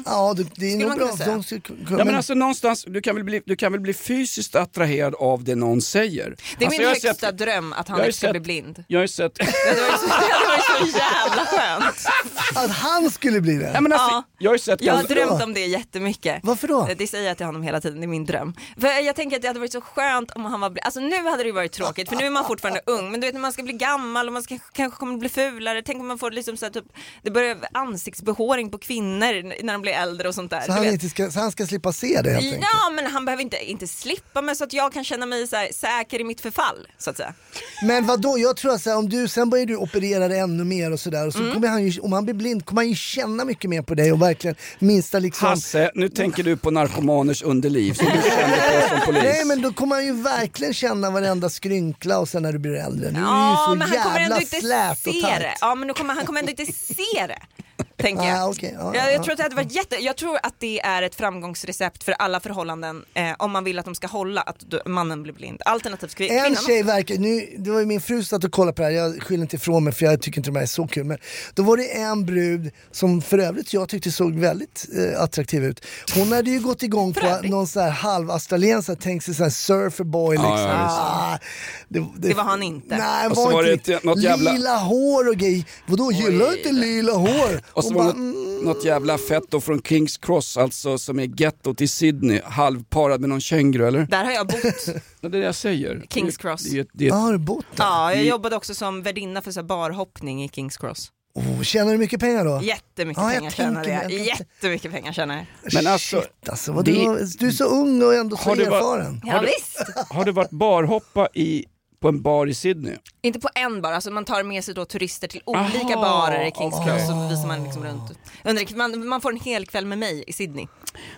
Ja, det, det är
Mm.
nog
Skulle man
bra.
kunna säga.
De skulle kunna-
Ja, men alltså, någonstans, du, kan väl bli, du kan väl bli fysiskt attraherad av det någon säger?
Det är
alltså,
min
jag har
högsta
sett-
dröm att
jag
han
har
inte ska
sett-
bli blind.
Jag har ju sett...
Det var ju så, det var ju så jävla skönt.
Att han skulle bli det?
Ja, men alltså,
Ja.
Jag har ju sett...
Jag har
ganska-
drömt om det jättemycket.
Varför då?
Det säger jag till honom hela tiden, det är min dröm. För jag tänker att det hade varit så skönt om han var blind. Alltså nu hade det ju varit tråkigt för nu är man fortfarande ung men du vet när man ska bli gammal och man ska, kanske kommer bli fulare. Tänk om man får liksom så här, typ, det börjar ansiktsbehåring på kvinnor när de blir äldre och sånt där.
Så
du
han,
vet.
inte ska, så han ska slippa se det helt enkelt?
Ja men han behöver inte, inte slippa men så att jag kan känna mig så här, säker i mitt förfall så att säga.
Men vadå, jag tror att så här, om du, sen börjar du operera dig ännu mer och sådär. Och
Mm.
så kommer han ju, om han blir blind kommer han ju känna mycket mer på dig och verkligen minsta liksom...
Hasse, nu tänker du på narkomaners underliv som du kände på som polis.
Nej men då kommer han ju verkligen känna varenda skrynkla och sen när du blir äldre. Nu är
Ja
det
men
ju så
han kommer ändå
jävla
inte
slät och
se
tajt.
det. Ja men då kommer, han kommer ändå inte se det. Tänker jag.
Ah, okej. Ja,
Jag,
ja,
jag, tror att det hade varit jätte, jag tror att det är ett framgångsrecept för alla förhållanden eh, om man vill att de ska hålla att du, mannen blir blind. Alternativt kvin- kvinnan.
En tjej verkar, nu, det var ju min fru som satt och kollade på det här, jag skyller inte ifrån mig för jag tycker inte det här är så kul. Men då var det en brud som för övrigt jag tyckte såg väldigt eh, attraktiv ut. Hon hade ju gått igång på någon så här halvaustraliensare, tänkt sig så här surferboy liksom.
ja, visst.
ah, det,
Det var han inte.
Nej, han
Och så
var
var
inte
det
riktigt-
ett- något jävla-
Lila hår och grejer. Vadå, gillar du inte lila hår?
Och så
Hon
var
bara,
det
mm.
något, något jävla fett då från Kings Cross, alltså som är gettot i Sydney, halvparad med någon känguru eller?
Där har jag bott.
Ja, Det är det jag säger.
Kings Cross.
Det, är ett- det, är
"Ah,
ett-
har du bott där?
Ja, jag jobbade också som värdinna för så här barhoppning i Kings Cross.
Oh, tjänar du mycket pengar då?
Jättemycket
Ja, Ah, jag
pengar tjänade
tänker-
jag.
jag tänkte-
Jättemycket pengar tjänade jag.
men alltså,
Shit, alltså vad
det-
du, var- du är så ung och ändå så
Har du varit-
erfaren.
Ja, visst.
har du varit barhoppa i, på en bar i Sydney?
Inte på en bar, alltså man tar med sig då turister till olika
Aha,
barer i Kings
okej.
Cross och
Ah.
så visar man liksom runt. Under, man, man får en hel kväll med mig i Sydney.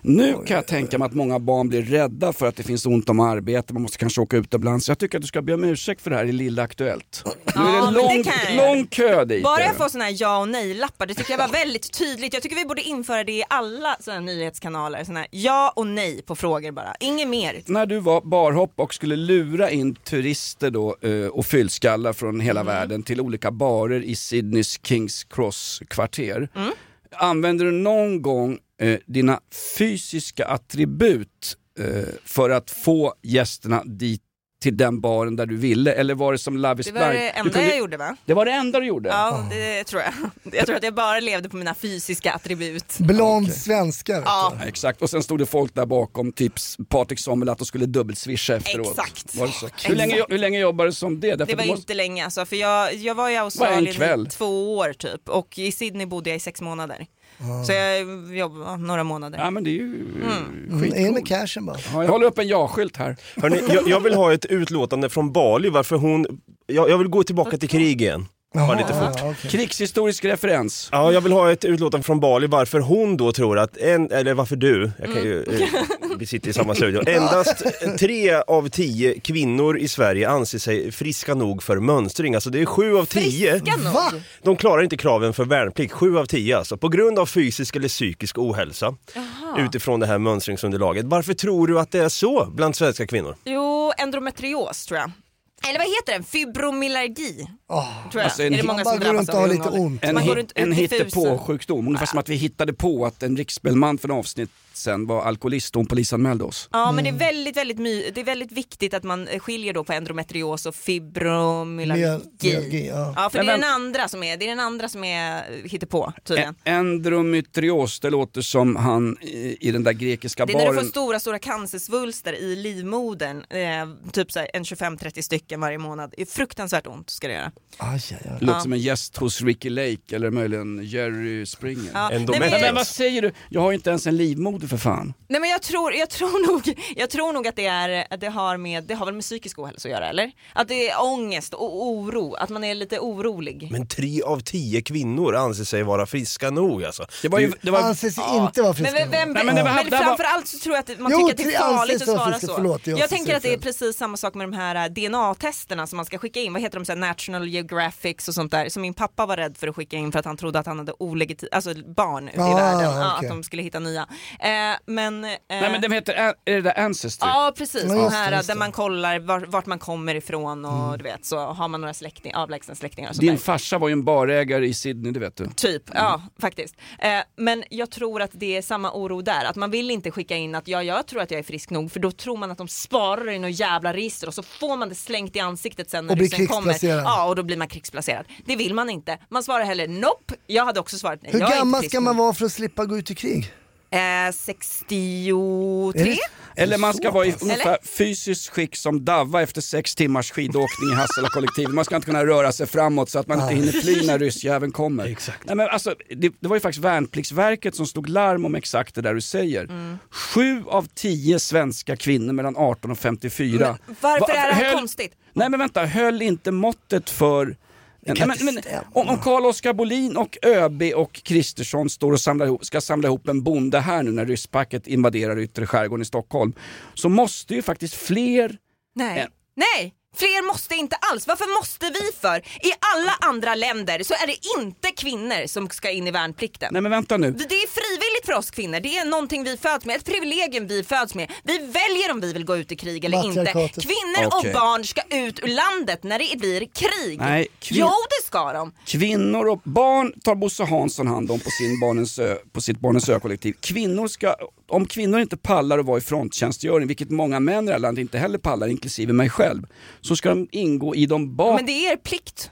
Nu kan jag tänka mig att många barn blir rädda för att det finns ont om arbete, man måste kanske åka utomlands. Så jag tycker att du ska be om ursäkt för det här i Lilla Aktuellt. Nu är det
Ja,
en
men det
lång,
kan jag göra.
lång kö dit.
Bara jag får såna här ja och nej-lappar, det tycker jag var väldigt tydligt. Jag tycker vi borde införa det i alla såna här nyhetskanaler. Såna här ja och nej på frågor bara, inget mer.
När du var barhopp och skulle lura in turister då eh, och fyllskallar från hela
Mm.
världen till olika barer i Sydneys Kings Cross-kvarter.
Mm.
Använder du någon gång eh, dina fysiska attribut eh, för att få gästerna dit till den baren där du ville? Eller var det som Love is
Det var
blind?
det
Du
enda
kunde-
jag gjorde va?
Det var det enda du gjorde?
Ja, det tror jag. Jag tror att jag bara levde på mina fysiska attribut.
Blond svenska vet
Ja,
Ja, Exakt, och sen stod det folk där bakom, typ Patrik Sommerlatt och skulle dubbelswisha efteråt.
Exakt.
Var det så? Hur, länge, hur länge jobbade du som det? Därför
det var
du måste-
inte länge alltså, för jag, jag var i
en
Australien
kväll.
i två år typ och i Sydney bodde jag i sex månader.
Ah.
Så jag jobbade några månader.
Ja men det är ju
Mm.
eh,
du. In
skitcoolt.
med cashen bara.
Ja, jag håller upp en ja-skylt här.
Hörrni, jag, jag vill ha ett utlåtande från Bali varför hon... Jag, jag vill gå tillbaka till krig igen. Bara lite fort.
Ja, okej.
Krigshistorisk referens.
Ja, jag vill ha ett utlåtande från Bali varför hon då tror att, en, eller varför du, jag kan ju,
Mm.
eh, vi sitter i samma studio, endast tre av tio kvinnor i Sverige anser sig friska nog för mönstring. Alltså det är sju av tio.
Friska nog.
Va?
De klarar inte kraven för värnplikt, sju av tio alltså, på grund av fysisk eller psykisk ohälsa utifrån det här mönstringsunderlaget. Varför tror du att det är så bland svenska kvinnor?
Jo, endometrios tror jag. Eller vad heter den? Fibromyalgi? Tror jag.
Alltså, en
är det
hit-
många
Man
som
går
drabbas
runt
av
och har
i ung
lite
ålder?
ont.
En,
Man går
hit,
runt
en
diffusa.
hittepå-sjukdom, ungefär som att vi hittade på att en riksspelman för en avsnitt sen var alkoholist och hon polisanmälde oss.
Ja men det
Mm.
är väldigt, väldigt, my- det är väldigt viktigt att man eh, skiljer då på endometrios och fibromyalgi.
Myal- myalgi, ja.
Ja för
Men
det är
vem-
den andra som är, det är den andra som är eh, hittepå
E-
tydligen.
Endometrios, det låter som han i, i den där grekiska
Det är när du får
baren.
stora, stora cancersvulster i livmodern, eh, typ så här en 25-30 stycken varje månad. Det är fruktansvärt ont ska det göra.
Aj, aj, aj.
Det låter som en gäst hos Ricky Lake eller möjligen Jerry Springer.
Ja, nej, men-
Endometrios.
Men vad säger du? Jag har ju inte ens en livmoder för fan.
Nej men jag tror, jag tror nog, jag tror nog att det är, att det har med, det har väl med psykisk ohälsa att göra eller? Att det är ångest och oro, att man är lite orolig.
Men tre av tio kvinnor anser sig vara friska nog alltså.
Det var ju, det var...
Anser sig inte vara friska.
Men, vem,
Nej, men det var-
men
det var-
framförallt så tror jag att man
Jo,
tycker att det
tre
är farligt
anses
att
vara
svara
friska.
så.
Förlåt, jag
jag
också
tänker
säger
att det är
fel.
precis samma sak med de här eh, DNA-testerna som man ska skicka in, vad heter de, så här, National Geographics och sånt där som min pappa var rädd för att skicka in för att han trodde att han hade olegit- alltså barn ute i
Ah,
världen, Ja,
okej.
att de skulle hitta nya. Eh, men, eh,
Nej men den heter, är det där Ancestry?
Ja precis,
Ja,
de
just
här
det, just
där
det. Mm.
man kollar var, vart man kommer ifrån och du vet så har man några släkting, avlägsna släktingar och sånt
Din
där.
farsa var ju en barägare i Sydney, det vet du.
Typ,
Mm.
ja faktiskt. Eh, men jag tror att det är samma oro där, att man vill inte skicka in att ja, jag tror att jag är frisk nog för då tror man att de sparar det i något jävla register och så får man det slängt i ansiktet sen när
Och blir
ryssen kommer.
krigsplacerad.
Ja och då blir man krigsplacerad. Det vill man inte. Man svarar heller nope, jag hade också svarat nej.
Hur
jag är inte
gammal
frisk
ska man
nog.
vara för att slippa gå ut i krig?
Eh, 63?
Är det-
Eller man ska vara i ungefär
Eller?
fysiskt skick som Davva efter sex timmars skidåkning i Hasselakollektivet. Man ska inte kunna röra sig framåt så att man inte hinner fly när ryssjäveln kommer. Nej, men alltså, det, det var ju faktiskt Värnpliktsverket som slog larm om exakt det där du säger. Sju av tio svenska kvinnor mellan 18 och 54.
Varför
Va-
är det här
höll-
konstigt?
Nej men vänta, höll inte måttet för Nej, men, men, om om Carl-Oskar Bolin och ÖB och Kristersson står och samlar ihop, ska samla ihop en bonde här nu när rysspacket invaderar yttre skärgården i Stockholm så måste ju faktiskt fler...
Nej.
Eh.
Nej! Fler måste inte alls. Varför måste vi för? I alla andra länder så är det inte kvinnor som ska in i värnplikten.
Nej men vänta nu.
Det det är frivilligt för oss kvinnor, det är någonting vi föds med, ett privilegium vi föds med. Vi väljer om vi vill gå ut i krig eller inte.
Matriarkatet.
Kvinnor
Okej.
och barn ska ut ur landet när det blir krig.
Nej, kvin-
Jo det ska de.
Kvinnor och barn tar Bosse Hansson hand om på, sin barnens ö, på sitt Barnens ö-kollektiv. Kvinnor ska, om kvinnor inte pallar att vara i fronttjänstgöring, vilket många män i det här landet inte heller pallar, inklusive mig själv, så ska de ingå i de bak...
Men det är er plikt.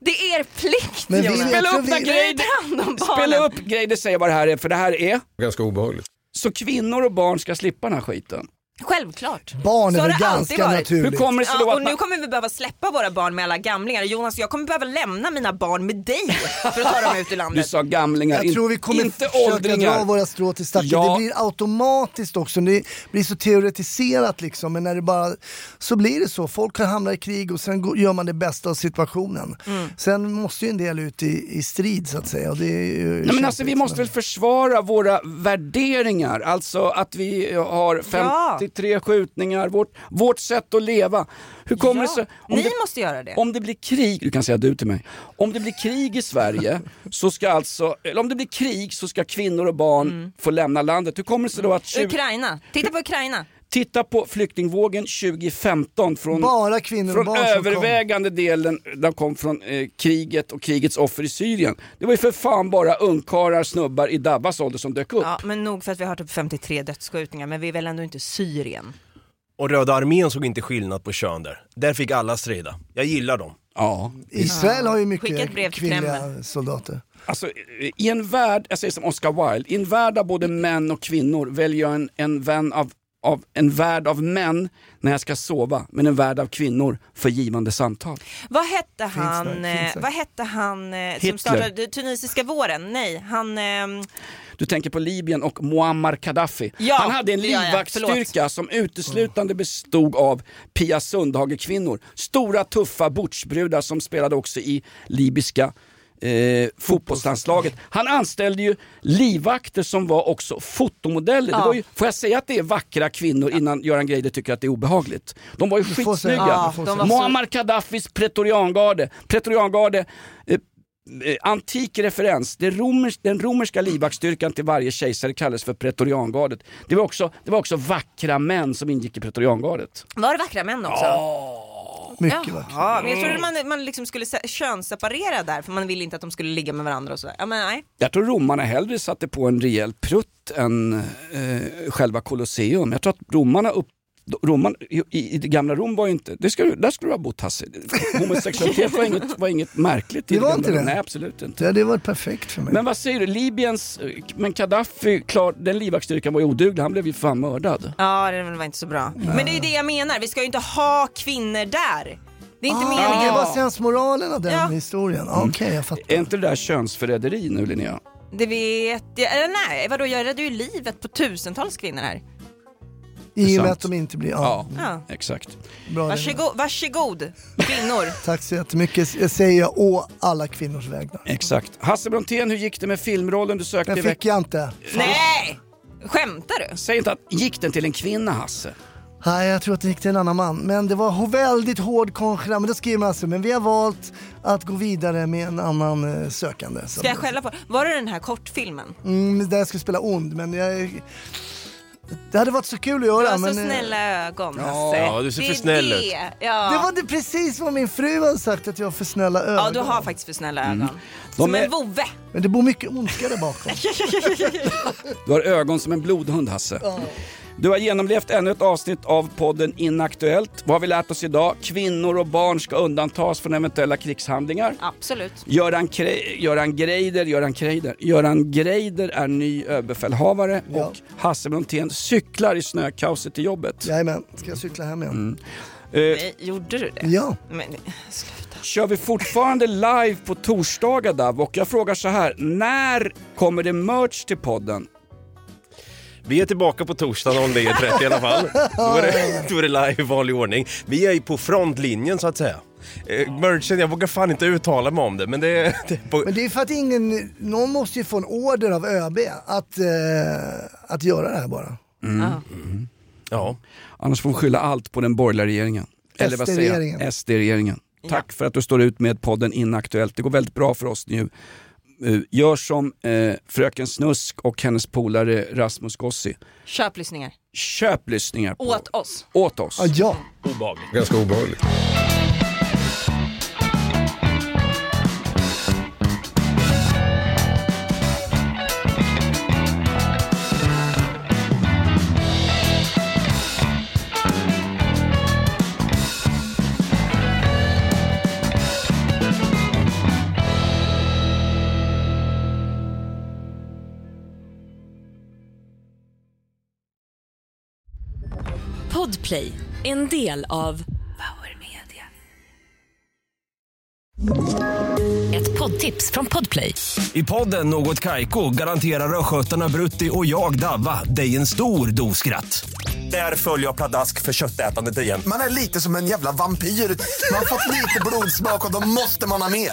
Det är er plikt
Men vi-
Jonas.
jag
Spela
tror
upp
vi-
den
Vi
grejen!
tar hand om barnen.
Spela upp grejer, säger vad det här är, för det här är...
Ganska obehagligt.
Så kvinnor och barn ska slippa den här skiten.
Självklart.
Barn
Så
är
har
väl
det alltid
ganska
varit.
Hur
naturligt.
kommer det sig då
Ja, och
att
nu
man...
kommer vi behöva släppa våra barn med alla gamlingar. Jonas, jag kommer behöva lämna mina barn med dig för att ta dem ut ur
Du
landet.
sa gamlingar,
Jag tror vi
in-
kommer
inte
försöka dra
åldringar.
våra strå till stacken.
Ja.
Det blir automatiskt också. Det blir så teoretiserat liksom. Men när det bara, så blir det så. Folk kan hamna i krig och sen går- gör man det bästa av situationen.
Mm.
Sen måste ju en del ut i, i strid så att säga. Och det är ju
Nej, men
kämpigt,
alltså, vi måste väl försvara våra värderingar, alltså att vi har 53 skjutningar, vårt, vårt sätt att leva. Hur kommer
Ja,
det sig? om
Ni
det-
måste göra det.
Om det blir krig, du kan säga du till mig. Om det blir krig i Sverige så ska alltså, eller om det blir krig så ska kvinnor och barn få lämna landet. Hur kommer det sig då att, tju-
Mm. Ukraina. Titta på Ukraina.
titta på flyktingvågen 2015 från
Bara kvinnor och
från
barn som
övervägande delen de kom från eh, kriget och krigets offer i Syrien. Det var ju för fan bara ungkarlar, snubbar i Dabbas ålder som dök upp.
Ja, men nog för att vi har typ 53 dödsskjutningar, men vi är väl ändå inte Syrien?
Och Röda armén såg inte skillnad på kön där. Där fick alla strida. Jag gillar dem.
Ja.
kom. Israel har ju
Skicka
mycket
ett brev till
kvinnliga
Kreml.
soldater.
Alltså, eh, I en värld, jag säger som Oscar Wilde, i en värld av både män och kvinnor väljer jag en, en, vän av, av, en värld av män när jag ska sova, men en värld av kvinnor för givande samtal.
Vad hette han,
där, finns där.
eh, vad hette han eh,
Hitler.
som startade Tunisiska våren? Nej, han... ehm,
Du tänker på Libyen och Muammar Gaddafi.
Ja,
han hade en
ja, ja,
livvaktsstyrka som uteslutande bestod av Pia Sundhage-kvinnor. Stora tuffa bordsbrudar som spelade också i libyska eh, fotbollslandslaget. Han anställde ju livvakter som var också fotomodeller. Det var ju, får jag säga att det är vackra kvinnor innan Göran Greider tycker att det är obehagligt? De var ju
får säga-
skitsnygga.
Ja, de var så-
Muammar Gaddafis pretoriangarde. Pretoriangarde eh, eh, antik referens. Det romers, den romerska livvaktsstyrkan till varje kejsare kallades för pretoriangardet. Det var också, det var också vackra män som ingick i pretoriangardet.
Var det vackra män också?
Mycket vackert.
Ja, men jag trodde man, man liksom skulle se- könsseparera där för man ville inte att de skulle ligga med varandra och sådär. Ja, men nej.
Jag tror romarna hellre satte på en rejäl prutt än eh, själva Colosseum. Jag tror att romarna upp Roman, i, I det gamla Rom var ju inte, det ska, du- där skulle du ha bott Hasse. Homosexualitet var inget, var inget märkligt. i
Det var
gamla
inte
Rom.
det?
Nej, absolut inte.
Det hade varit perfekt för mig.
Men vad säger du, Libyens, eh, men Gaddafi, klar, den livvaktsstyrkan var ju oduglig, han blev ju fan mördad.
Ja, det var inte så bra. Men det är det jag menar, vi ska ju inte ha kvinnor där. Det är inte
Det
meningen.
var sensmoralen av den
Ja.
Mm.
historien. Okej, jag fattar.
Är inte det där könsförräderi nu Linnea?
Det vet jag, eller nej vadå jag räddade ju livet på tusentals kvinnor här.
I och
sant.
med att de inte blir...
Ja,
Ja.
Ja.
exakt.
Bra, Lena.
Varsågod, varsågod kvinnor.
Tack så jättemycket Jag säger jag å alla kvinnors vägnar.
Exakt. Hasse Brontén, hur gick det med filmrollen du sökte i
Den fick
veckan?
jag inte.
nej! Skämtar du?
Säg inte att, gick den till en kvinna Hasse?
Nej, jag tror att det gick till en annan man. Men det var ho- väldigt hård konkurrens. Men då skriver man alltså, men vi har valt att gå vidare med en annan eh, sökande.
Ska jag skälla på Var det den här kortfilmen?
Mm, där jag skulle spela ond, men jag... Det hade varit så kul att göra.
Du har så
men, eh,
snälla ögon Hasse.
ja, du ser
Det
för
är
snäll
det.
ut.
Ja.
Det var det precis vad min fru hade sagt, att jag har för snälla ögon.
ja, du har faktiskt för snälla ögon. Som
är-
en vovve.
Men det bor mycket ondska där bakom.
Du har ögon som en blodhund Hasse. Du har genomlevt ännu ett avsnitt av podden Inaktuellt. Vad har vi lärt oss idag? Kvinnor och barn ska undantas från eventuella krigshandlingar.
Absolut.
Göran, Kre- Göran Greider, Göran Greider, Göran Greider är ny överbefälhavare
Ja.
och Hasse Brontén cyklar i snökaoset till jobbet.
Jajamän, ska jag cykla hem igen?
Eh,
Nej, gjorde du det?
Ja.
Men, sluta.
kör vi fortfarande live på torsdagar Dav? Och jag frågar så här, när kommer det merch till podden?
Vi är tillbaka på torsdagen om det är 30 i alla fall. Då är det, då är det live i vanlig ordning. Vi är ju på frontlinjen så att säga. Eh, merchen, jag vågar fan inte uttala mig om det, men det, är- det är på,
Men det är för att ingen, någon måste ju få en order av ÖB att, eh, att göra det här bara.
Ja.
ja.
Annars får vi skylla allt på den borgerliga regeringen. Eller vad säger
SD-regeringen.
jag? SD-regeringen. Tack för att du står ut med podden Inaktuellt. Det går väldigt bra för oss nu. Eh, Gör som eh, fröken Snusk och hennes polare Rasmus Gossi.
Köp lyssningar.
Köp lyssningar på,
Åt oss.
åt oss.
Ja, ja.
obehagligt.
Ganska obehagligt.
Podplay, en del av Power Media. Ett poddtips från Podplay.
I podden Något Kaiko garanterar östgötarna Brutti och jag, Davva, dig en stor dos skratt. Där följer jag pladask för köttätandet igen.
Man är lite som en jävla vampyr. Man har fått lite blodsmak och då måste man ha mer.